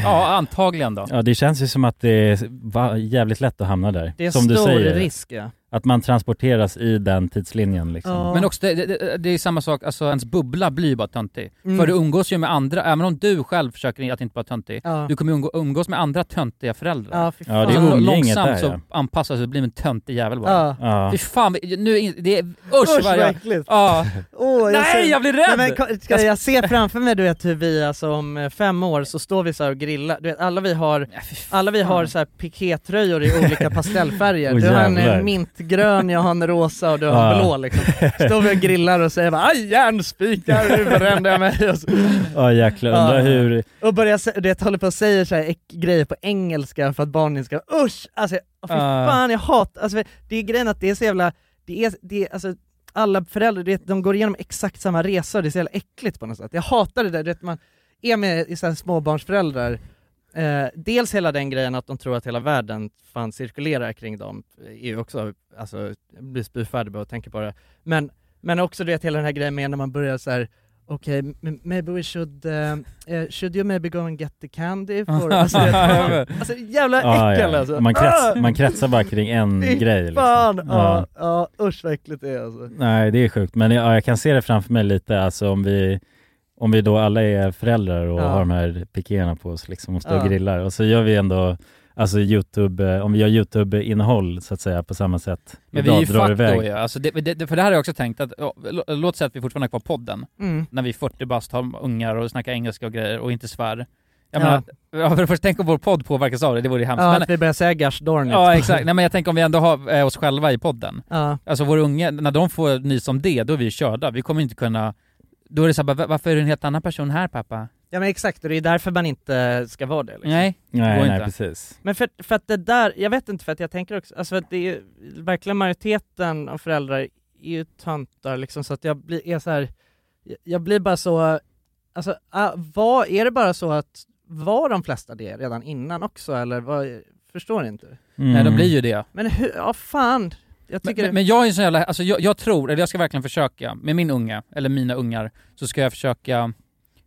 D: Ja, antagligen då.
B: Ja, det känns ju som att det är va- jävligt lätt att hamna där.
A: Det är
B: som du
A: stor
B: säger.
A: risk, ja.
B: Att man transporteras i den tidslinjen liksom.
D: Men också, det, det, det är ju samma sak, alltså ens bubbla blir ju bara töntig.
B: Mm.
D: För du umgås ju med andra, även om du själv försöker att inte vara töntig,
A: Ja.
D: du kommer ju umgå, umgås med andra töntiga föräldrar.
A: Ja, fy fan. Ja, det är
D: Så lo-
B: umgänget
D: Alltså, Långsamt
B: där,
D: så
B: ja.
D: anpassas du, och blir en töntig jävel
A: Ja.
D: bara.
B: Ja.
D: Fy fan, vi- nu, är in- det är, usch,
A: Usch
D: vad
A: vad
D: jag-
A: äckligt!
D: Ja.
A: Åh,
D: Nej,
A: ser-
D: jag blir rädd!
A: Nej, men, ko- ska
D: Jag-
A: jag ser framför mig du vet hur vi alltså om eh, fem år så står vi så här och grillar, du vet alla vi har, alla vi har så här pikétröjor i olika pastellfärger.
B: Åh,
A: du har en
B: jävlar.
A: eh, mintgrön, jag har en rosa och du har en
B: Ja.
A: blå liksom. Står vi och grillar och säger bara aj järnspikar, nu brände jag mig. Och, så,
B: Ja jäklar, undrar
A: Ja.
B: hur...
A: och börjar, se- du vet håller på och säger så här äck- grejer på engelska för att barnen ska, usch! Alltså jag- fy
B: Ja.
A: fan jag hatar, alltså det är grejen att det är så jävla, det är, det är alltså alla föräldrar, du vet, de går igenom exakt samma resa och det är så jävla äckligt på något sätt. Jag hatar det där, du vet, man är med i så här småbarnsföräldrar, eh, dels hela den grejen att de tror att hela världen fan cirkulerar kring dem, eh, är ju också, alltså, jag blir spyfärdig bara och tänker på det. Men, men också du vet hela den här grejen med när man börjar så här. Okej, m- maybe we should, eh, eh, should you maybe go and get the candy for alltså, du vet, man- alltså jävla
B: Ja,
A: äckel
B: ja.
A: alltså!
B: Man, krets,
A: Ah!
B: man kretsar bara kring en
A: Fy
B: grej liksom.
A: Fan!
B: Ja.
A: Ja, ja. usch vad äckligt det är alltså.
B: Nej, det är sjukt. Men jag, ja, jag kan se det framför mig lite, alltså om vi, om vi då alla är föräldrar och
A: Ja.
B: har de här pikéerna på oss liksom och står
A: Ja.
B: och grillar och så gör vi ändå Alltså Youtube, eh, om vi gör Youtube-innehåll så att säga på samma sätt.
D: Men vi är
B: Idag
D: ju
B: drar
D: fack
B: iväg.
D: då ju. Alltså det, det, det- för det här har jag också tänkt att, ja, lå- låt säga att vi fortfarande har kvar podden.
A: Mm.
D: När vi är 40 bast, har ungar och snackar engelska och grejer och inte svär.
A: Ja.
D: Jag menar, ja, för det första, tänk om vår podd påverkas av det, det vore ju hemskt.
A: Ja,
D: Men-
A: att vi börjar säga Gash Dornet.
D: Ja exakt, nej men jag tänker om vi ändå har eh, oss själva i podden.
A: Ja.
D: Alltså våra unga, när de får nys om det, då är vi ju körda. Vi kommer inte kunna... Då är det såhär, varför är du en helt annan person här pappa?
A: Ja men exakt, och det är därför man inte ska vara det liksom.
D: Nej, det
B: Nej, går nej, inte. precis.
A: Men för, för att det där, jag vet inte för att jag tänker också, alltså för att det är ju- verkligen majoriteten av föräldrar är ju töntar liksom så att jag blir, är så här, jag- jag blir bara så, alltså ah, vad, är det bara så att, var de flesta det redan innan också eller vad, förstår inte?
D: Nej
B: Mm.
D: de blir ju det.
A: Men hur, ja fan, jag tycker
D: Men, men jag är ju så jävla, alltså jag, jag tror, eller jag ska verkligen försöka, med min unga, eller mina ungar, så ska jag försöka,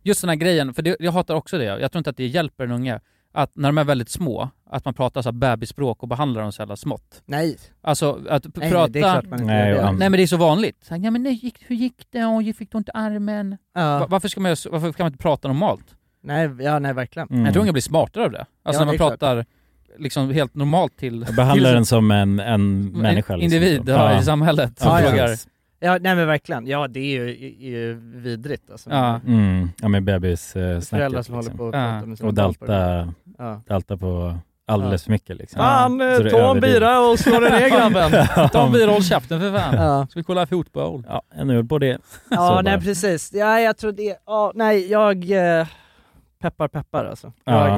D: just den här grejen, för det, jag hatar också det, jag tror inte att det hjälper en unge, att när de är väldigt små, att man pratar så här bebisspråk och behandlar dem så jävla smått.
A: Nej.
D: Alltså att p-
A: Nej,
D: prata...
A: det är klart man inte Nej, gör det. och-
D: Nej men det är så vanligt. Så här, Ja, men nej, gick, hur gick det? Oh, fick du ont i armen?
A: Ja.
D: Va- Varför, ska man, göra så- varför kan man inte prata normalt?
B: Mm.
A: Nej, ja nej verkligen.
D: Jag tror unga blir smartare av det. Alltså när
A: Ja,
D: man
A: det är klart.
D: pratar liksom helt normalt till...
B: Behandlar
D: till- Mm,
B: den som en, en människa. liksom.
D: individ, ja, i samhället som
B: Ja,
D: frågar.
B: precis.
A: Ja, nej men verkligen. Ja, det är ju, är ju vidrigt alltså.
D: Ja.
B: Mm, ja med bebissnacket.
A: Föräldrar som håller på och pratar med sina
B: liksom. Och dalta,
A: Ja.
B: dalta på alldeles för mycket liksom.
A: Fan, eh,
B: Så det
A: ta en
B: överdriver.
A: bira och slå dig ner grabben!
D: Ta en bira och håll käften för fan.
A: Ja.
D: Ska vi kolla fotboll?
B: Ja, en öl på det.
A: Ja,
B: Så
A: nej
B: bara.
A: precis. Ja, jag tror det. Ja, nej, jag... eh, Peppar peppar alltså.
B: Ja.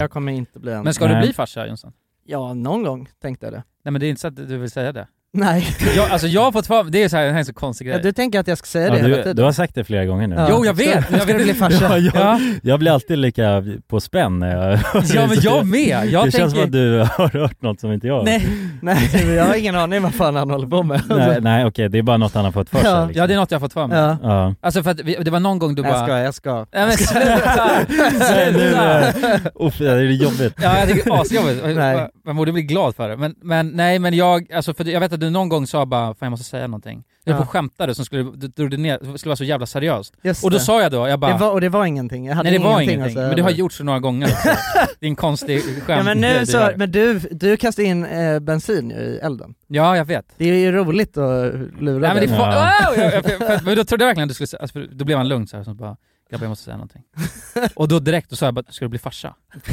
A: Jag kommer inte bli en.
D: Men ska du bli farsa Jonsson?
A: Ja, någon gång tänkte jag det.
D: Nej men det är inte så att du vill säga det?
A: Nej.
D: Jag, alltså jag har fått för det är så här, det här är en så konstig grej.
A: Ja, du tänker att jag ska säga det hela
B: Ja, du,
A: tiden.
B: du har sagt det flera gånger nu.
A: Ja.
D: Jo, jag vet!
A: Ska- ska du bli farsa?
B: Ja, jag,
A: Ja.
B: jag blir alltid lika på spänn när jag
D: Ja, men jag med. Jag
B: det
D: tänker-
B: känns som att du har hört något som inte jag har.
A: Nej, nej, jag har ingen aning vad fan han håller på med. Alltså.
B: Nej, nej okej, det är bara något han har fått för sig.
A: Ja.
B: Liksom.
D: Ja det är något jag har fått för mig.
B: Ja. Ja.
D: Alltså för att vi, det var någon gång du
A: Jag
D: bara...
A: ska, jag ska.
D: Nej men sluta!
B: Nej, nu,
D: sluta!
B: eh, uff, det är jobbigt.
D: Ja jag tycker det är asjobbigt.
B: Nej.
D: Man borde bli glad för det. Men, men nej men jag, alltså för jag vet att du någon gång sa bara fan jag måste säga någonting. Jag
A: Ja.
D: ja. på skämtade som skulle, du drog det ner, det skulle vara så jävla seriöst.
A: Just
D: och då
A: det.
D: sa jag då, jag bara...
A: Det var, och det var ingenting, jag hade
D: nej det var
A: ingenting,
D: ingenting.
A: att säga.
D: men du har gjort så några gånger också. Det är en konstig skämt.
A: ja, men, nu så,
D: Ja,
A: men du, du kastade in eh, bensin ju i elden.
D: Ja jag vet.
A: Det är ju roligt att lura
D: Nej, men, det är
A: dig.
D: fa- Wow! jag, jag, för, för, men då trodde jag verkligen att du skulle säga, alltså, för då blev han lugn så här, så bara “grabbar jag måste säga någonting”. Och då direkt då sa jag bara “ska du bli farsa?”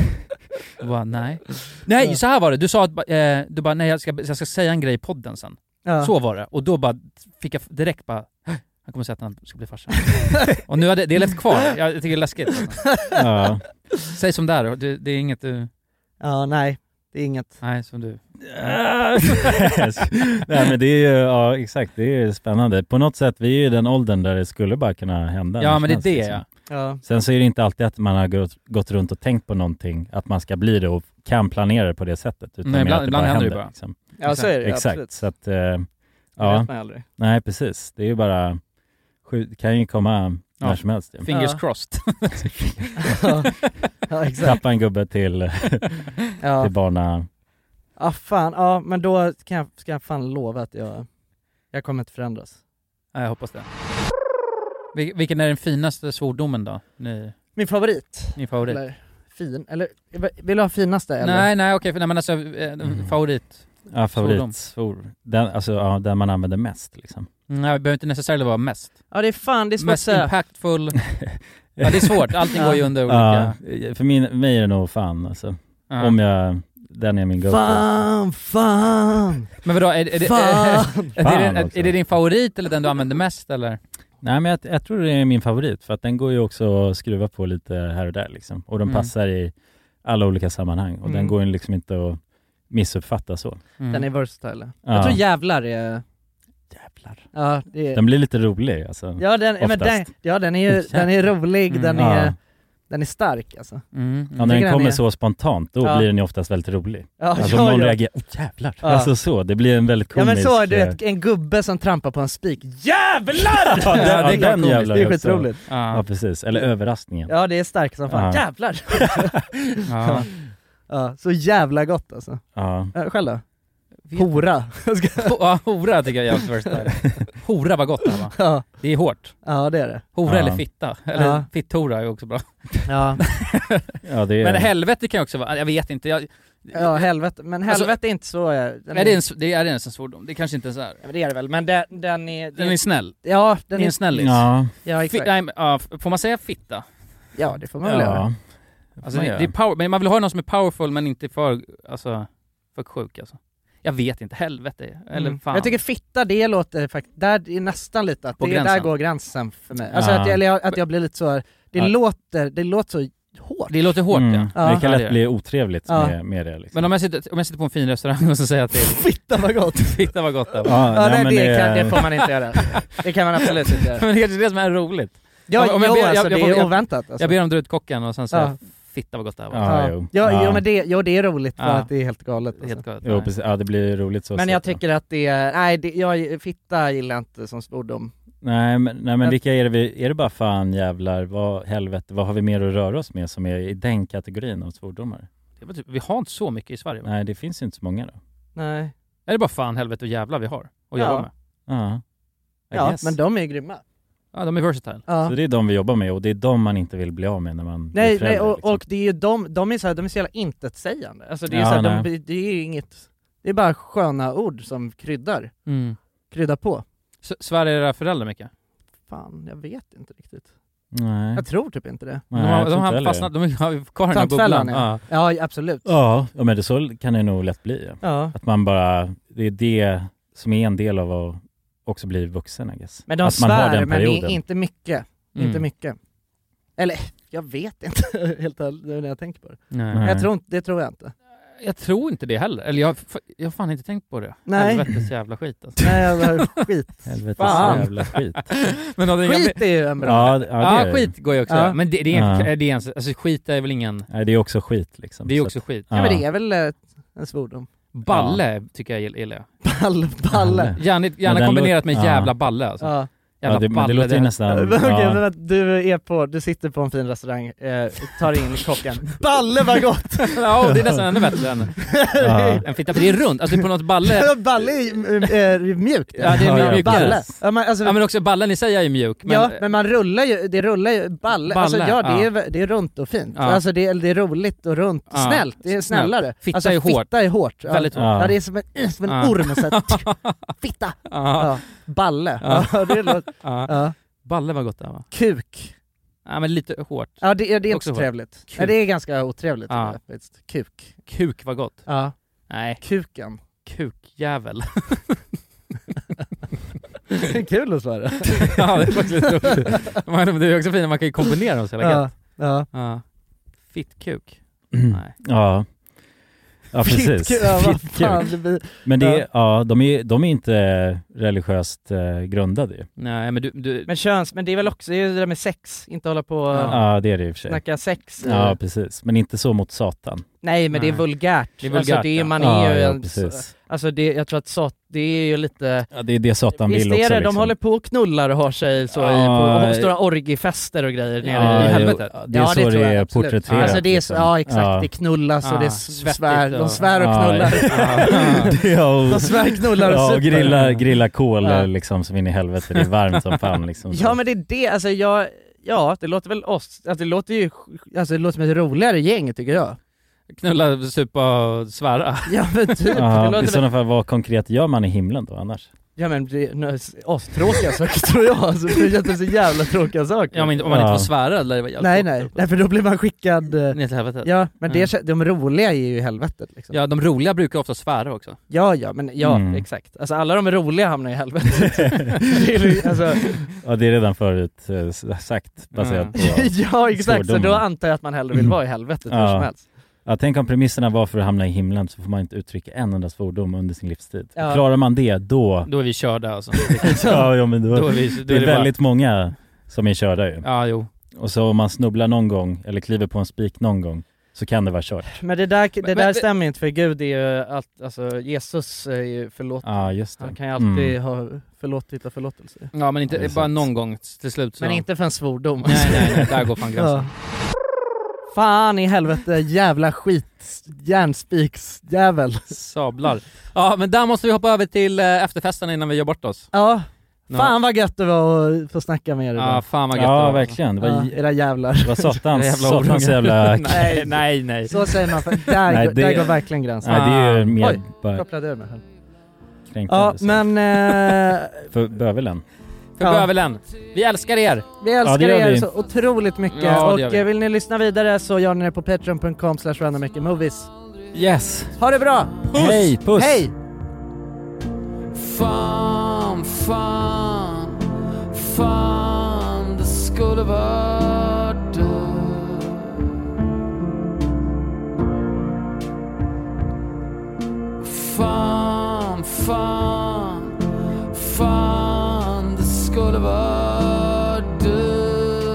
D: Jag bara “nej”. Nej, så här var det, du sa att ba- eh, du bara “nej jag ska, jag ska säga en grej i podden sen”.
A: Ja.
D: Så var det, och då bara fick jag direkt bara "Hä? han kommer säga att han ska bli farsa. och nu har det, det är levt kvar, jag tycker det är läskigt.
B: Ja.
D: Säg som det är, det, det är inget du...
A: Ja, nej, det är inget.
D: Nej, som du.
B: Nej men det är ju, ja exakt, det är ju spännande. På något sätt, vi är ju i den åldern där det skulle bara kunna hända.
D: Ja, men det är
B: känns
D: det,
B: liksom.
A: ja. Ja.
B: Sen så är det inte alltid att man har gått, gått runt och tänkt på någonting, att man ska bli det och kan planera det på det sättet. Utan
D: Nej,
B: mer
D: ibland-
B: att
D: ibland
B: bara
D: händer det bara.
B: Liksom.
A: Ja, så är det ju,
B: Exakt,
A: absolut.
B: så att, eh, ja.
A: vet man aldrig.
B: Nej precis, det är ju bara, sju- kan ju komma
D: Ja.
B: när som helst. ju.
D: Fingers crossed.
A: Ja. Ja, exakt.
B: Tappa en gubbe till,
A: Ja.
B: till barna.
A: Ja fan, ja men då kan jag, ska jag fan lova att jag, jag kommer inte förändras.
D: Ja, jag hoppas det. Vil- vilken är den finaste svordomen då? Ni,
A: Min favorit.
D: Min favorit.
A: Eller fin, eller vill du ha finaste eller?
D: Nej, nej okej, för- nej, men alltså eh,
B: Mm.
D: favorit.
B: Ja,
D: Svordom.
B: favoritsvor. Den, alltså, ja, den man använder mest liksom.
D: Nej, det behöver inte necessarily vara mest.
A: Ja det är fan, det är svårt
D: Mest
A: att säga.
D: impactful. ja, det är svårt, allting går ju under olika...
B: Ja, för min, mig är det nog fan alltså.
D: Ja.
B: Om jag, den är min go-to.
A: Fan, fan!
D: Men vadå, är, är, det-
A: Fan!
D: är, det- är,
B: Fan
D: det-
B: också.
D: är det din favorit eller den du använder mest eller?
B: Nej men jag, jag tror det är min favorit för att den går ju också att skruva på lite här och där liksom. Och de
D: Mm.
B: passar i alla olika sammanhang och den
A: Mm.
B: går ju liksom inte att missuppfatta så.
D: Mm.
A: Den är versatile.
B: Ja.
A: Jag tror jävlar är...
B: Jävlar.
A: Ja, det är...
B: Den blir lite rolig alltså.
A: ja, den, ja, men
B: oftast.
A: den, ja den är ju,
B: Jävlar.
A: den är rolig, den
B: Mm.
A: är,
B: Ja.
A: den är stark alltså.
B: Ja,
D: Mm.
A: Jag
B: när
A: tycker
B: den kommer
A: är-
B: så spontant, då
A: Ja.
B: blir den ju oftast väldigt rolig.
A: Ja,
B: alltså
A: ja,
B: om någon
A: ja.
B: reagerar, oh, jävlar.
A: Ja.
B: Alltså så, det blir en väldigt
A: Ja
B: komisk...
A: men så, du
B: eh,
A: vet en gubbe som trampar på en spik. Jävlar!
B: Ja, den, ja,
A: det är
B: den alltså.
A: komiskt.
B: jävlar
A: Det är
B: också.
A: skitroligt.
B: Ja. precis, eller överraskningen.
A: Ja det är starkt som fan.
B: Ja.
A: Jävlar!
B: Ja.
A: ja. så jävla gott alltså.
B: Ja.
A: Äh, själv då? Hora.
D: Ho- Ja, hora tycker jag är jävligt versatile. Hora var gott det här va?
A: Ja.
D: Det är hårt.
A: Ja det är det.
D: Hora
B: Ja.
D: eller fitta, eller
A: Ja.
D: fitthora är också bra.
A: Ja.
B: Ja, det är-
D: Men helvete kan ju också vara, jag vet inte. Jag,
A: Ja helvete, men
D: Alltså-
A: helvete är inte så... eh, Den
D: Nej, det är, en, s- det är ens en svordom, det kanske inte ens är.
A: Ja, men det är det väl, men den, den är...
D: Den är snäll.
A: Ja,
D: Den
A: den
D: är en
A: är...
D: snällis.
B: Ja.
A: Ja,
D: Fi-
A: exakt.
D: nej, men, ja, f- får man säga fitta?
A: Ja det får man väl
B: Ja.
A: göra.
D: Alltså,
B: man
D: det,
B: göra.
D: det är power, men man vill ha någon som är powerful men inte för, alltså, för sjuk alltså. Jag vet inte, helvete. Eller
A: Mm.
D: fan.
A: Jag tycker fitta, det låter faktiskt, där är nästan lite att
D: På
A: det,
D: gränsen.
A: där går gränsen för mig. Alltså
B: Ja.
A: att, jag- eller jag, att jag blir lite så, här- det
B: Ja.
A: låter, det låter så hårt.
D: det låter hårt
B: Mm.
D: ja.
A: Ja.
B: Det kan
D: Ja,
B: lätt
D: är
B: bli otrevligt
A: Ja.
B: med, med det. Liksom.
D: Men om jag, sitter, om jag sitter på en fin restaurang och så säger jag till
A: Fitta vad gott!
D: Fitta vad gott det var.
B: Ja,
A: Ja, nej,
B: men
A: det, kan, det får man inte göra. Det kan man absolut inte göra.
D: Men det är kanske det som är roligt.
A: Ja,
D: Om- om jag
A: jo,
D: ber- jag-
A: alltså,
D: jag
A: det är
D: får- jag-
A: oväntat. Alltså.
D: Jag ber dem dra ut kocken och sen säger
A: Ja.
D: jag fitta vad gott det här var.
B: Ja,
A: ja.
B: jo.
A: Ja,
B: Ja.
A: Jo, men det, jo, det är roligt för
D: Ja.
A: att det är helt galet.
D: Det är helt
A: alltså.
D: galet.
B: Jo,
D: Nej.
B: precis. Ja, det blir roligt så.
A: Men
B: sett,
A: jag
B: ja.
A: tycker att det är, nej, det, jag, fitta gillar jag inte som svordom.
B: Nej, men, nej, men
A: Jag-
B: vilka är det vi... Är det bara fan, jävlar, vad, helvete, vad har vi mer att röra oss med som är i den kategorin av svordomar?
D: Det var typ- Vi har inte så mycket i Sverige va?
B: Nej, det finns ju inte så många då.
A: Nej.
D: Är det bara fan, helvete och jävla vi har att
A: Ja.
D: jobba med?
B: Ja. I
A: Ja,
B: guess.
A: men de är ju grymma.
D: Ja, de är versatile.
A: Ja.
B: Så det är de vi jobbar med och det är de man inte vill bli av med när man blir
A: Nej, nej
B: förälder,
A: och,
B: liksom.
A: och det är ju de, de är så här, de är så jävla intetsägande. Alltså det är,
B: Ja,
A: så här,
B: nej.
A: de, det är ju inget, det är bara sköna ord som kryddar,
D: Mm.
A: kryddar på.
D: S- Svär era föräldrar mycket?
A: Fan, jag vet inte riktigt.
B: Nej.
A: Jag tror typ inte det.
B: Nej,
D: de
B: jag
D: har,
B: tror
D: de
B: inte
D: har
B: heller.
D: fastnat, de har kvar den här
A: Tantfällan
D: bubblan.
A: ja. Ja, absolut.
B: Ja, ja, men det så kan det nog lätt bli. Ja.
A: Ja.
B: Att man bara, det är det som är en del av att också bli vuxen, I guess.
A: Men de
B: att man har
A: svär,
B: den
A: men det är
B: perioden.
A: inte mycket.
B: Mm.
A: Inte mycket. Eller, jag vet inte helt ärligt nu när jag tänker på det.
D: Nej.
A: Men
B: Nej.
A: jag tror inte, det tror jag inte.
D: Jag tror inte det heller. Eller jag, har f- jag har fan inte tänkt på det.
A: Nej.
D: Helvetes jävla skit alltså.
A: Nej, jag bara, skit.
B: Helvetes
D: Fan.
B: jävla skit.
D: Men har det-
A: Skit är ju en bra-
B: Ja, det- ja, det är det.
D: skit går ju också.
A: Ja.
D: Men det, det är en,
B: Ja.
D: det är ens, alltså skit är väl ingen...
B: Nej, det är också skit liksom.
D: Det är
B: Så
D: också
B: att-
D: skit.
A: Ja, men det är väl eh, en svordom.
D: Balle tycker jag gill- gillar jag.
A: Ball, balle.
D: Gärna,
B: Men
D: gärna
B: den
D: kombinerat
B: låter- ja.
D: med jävla balle alltså.
A: Ja.
D: Jävla
B: Ja, det- men det
D: balle.
B: låter ju
D: Ehm,
B: nästan-
A: Okej,
B: Ja.
A: men att du är på, du sitter på en fin restaurang, eh, tar in kocken. Balle vad gott!
D: ja, och det är nästan ännu bättre än
A: Ja.
D: en fitta. för Det är runt, alltså på något balle...
A: balle är eh, mjukt.
D: Ja, det är mjukare.
A: Balle. Ja, men, alltså,
D: Ja men också ballen i sig är ju mjuk. Men,
A: ja, men man rullar ju, det rullar ju, balle, alltså,
D: Balle,
A: ja, det,
D: ja.
A: är, det är runt och fint.
D: Ja.
A: Alltså det är, det är roligt och runt,
D: Ja.
A: snällt, det är
D: Snällt.
A: snällare.
D: Fitta
A: alltså,
D: är hårt.
A: Fitta är hårt. Ja.
D: Väldigt hårt.
A: Ja, det är som en, eh, som en
D: Ja.
A: orm, så här, tsk, fitta, ja. balle. Ja. det låter,
D: Ja.
A: ja.
D: Balle var gott det här, va?
A: Kuk.
D: Ja men lite hårt.
A: Ja det, är- det är inte
D: Också
A: så
D: hårt.
A: trevligt.
D: Kuk.
A: Nej, det är ganska otrevligt.
D: Ja.
A: faktiskt. Kuk.
D: Kuk var gott.
A: Ja.
D: Nej.
A: Kuken.
D: Kukjävel.
A: Det är kul att svara.
D: ja det är faktiskt lite roligt. Men Det är också fint, man kan ju kombinera dem så jävla
A: Ja,
D: gött.
A: ja.
D: ja. Fittkuk.
B: Nej. Ja. Ja
A: Fittkul,
B: precis.
A: ja, vad
B: Fittkul.
A: fan, det blir-
B: Men det är, ja, de är, de är inte religiöst eh, grundade ju.
D: Nej men du, du
A: Men köns, men det är väl också det, är ju det där med sex, inte hålla på och
B: Ja, det är det i och för sig.
A: snacka sex.
B: Ja, precis. Men inte så mot Satan.
A: Nej men det är
D: Nej.
A: vulgärt.
D: Det är vulgärt,
A: alltså, det är,
D: ja.
A: man
B: Ja,
A: är ju
B: ja,
A: en,
B: precis.
A: Alltså det, jag tror att sat, det är ju lite
B: Ja, det är det Satan
A: Visst
B: vill
A: är
B: också.
A: det,
B: liksom.
A: de håller på och knullar och har sig så i,
B: Ja,
A: på, på stora orgiefester och grejer nere
B: Ja,
A: i
B: jo,
A: helvetet.
B: det är så
A: tror
B: det
A: jag
B: är
A: absolut.
B: porträtterat,
A: Alltså det är, så-
B: liksom.
A: Ja exakt,
B: Ja.
A: det knullas och
D: Ja,
A: det
D: svettigt
A: svär, de
D: och-
A: svär Ah, och
B: Ja,
A: knullar.
B: Ja, och-
A: De svär, knullar och
B: Ja, och
A: super.
B: grilla, grilla kol
A: Ja.
B: liksom som in i helvete. Det är varmt som fan liksom.
A: Ja men det är det, alltså jag, ja det låter väl oss, alltså, det låter ju, alltså det låter som ett roligare gäng tycker jag.
D: Knulla, supa och svära.
A: Ja men typ, det
B: Ja,
A: låter
B: I
A: väl,
B: sådana fall, vad konkret gör man i himlen då annars?
A: ja men det- nu- astråkiga saker tror jag, alltså, det är inte så jävla tråkiga saker.
D: Ja men om man
B: Ja.
D: inte får svära eller det var jävligt
A: nej
D: gott.
A: nej, nej för då blir man skickad, eh,
D: Ner till helvetet.
A: ja men
D: Mm.
A: det, de roliga är ju i helvetet liksom.
D: Ja, de roliga brukar ofta svära också.
A: Ja, ja, men ja,
B: Mm.
A: exakt. Alltså alla de roliga hamnar i helvetet. Det är ju- alltså,
B: Ja, det är redan förut eh, s- sagt baserat på
A: Mm. ja, exakt. Så då
B: svordomar. Mm.
A: antar jag att man hellre vill vara i helvetet hur
B: Ja.
A: som helst.
B: Ja, tänk om premisserna var för att hamna i himlen så får man inte uttrycka en enda svordom under sin livstid.
A: Ja.
B: Klarar man det då...
D: Då är vi körda alltså.
B: ja, ja, men då,
D: Då är vi- då
B: det
D: är
B: är
D: det bara-
B: väldigt många som är körda ju.
D: Ja, jo.
B: Och så om man snubblar någon gång eller kliver på en spik någon gång så kan det vara kört.
A: Men det där, det
D: Men-
A: där
D: men-
A: stämmer ju inte för Gud är ju allt, alltså Jesus är ju förlåt.
B: Ja, just det.
A: Han kan ju alltid
B: Mm.
A: ha förlåtit och förlåtelse.
D: Ja men inte,
B: Ja, det är
D: bara
B: sant.
D: någon gång till slut så.
A: Men inte för en svordom.
D: Nej nej nej, där går fan gränsen.
A: Fan i helvete, jävla skit, järnspiksjävel.
D: Sablar. Ja men där måste vi hoppa över till eh, efterfesten innan vi gör bort oss.
A: Ja,
D: Ja.
A: fan vad gött det var att få snacka med er idag.
D: Ja fan vad gött
B: Ja,
D: det var.
B: verkligen. Det var,
A: Ja, era jävlar.
B: det var satans,
D: Jävla
B: satans
D: orungar.
B: jävla...
D: Nej nej nej.
A: Så säger man, för där,
B: Nej,
A: går-
B: det-
A: där går verkligen gränsen.
B: Nej, det är ju mer
A: Oj,
B: bara
A: kopplade ur mig själv. Ja,
B: kränkande. så.
A: men eh,
B: För bövelen.
D: För
A: Ja.
D: bövelen. Vi älskar er.
A: vi
B: Ja,
A: älskar
B: det gör
A: er
B: vi.
A: så otroligt mycket
D: Ja, det
A: och
D: gör vi.
A: eh, vill ni lyssna vidare så gör ni det på patreon.com slash randommakermovies.
D: Yes.
A: Ha det bra!
B: Hej, puss!
A: Hej!
L: Fan, fan, fan det skulle vara du Fan, fan, fan det skulle vara du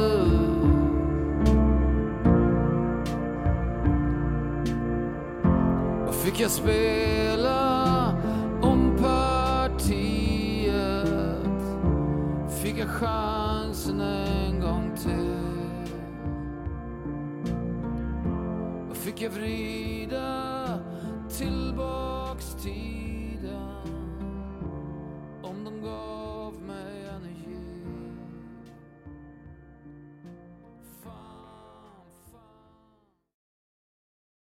L: Fick jag spela om partiet Fick jag chansen en gång till Fick jag vrida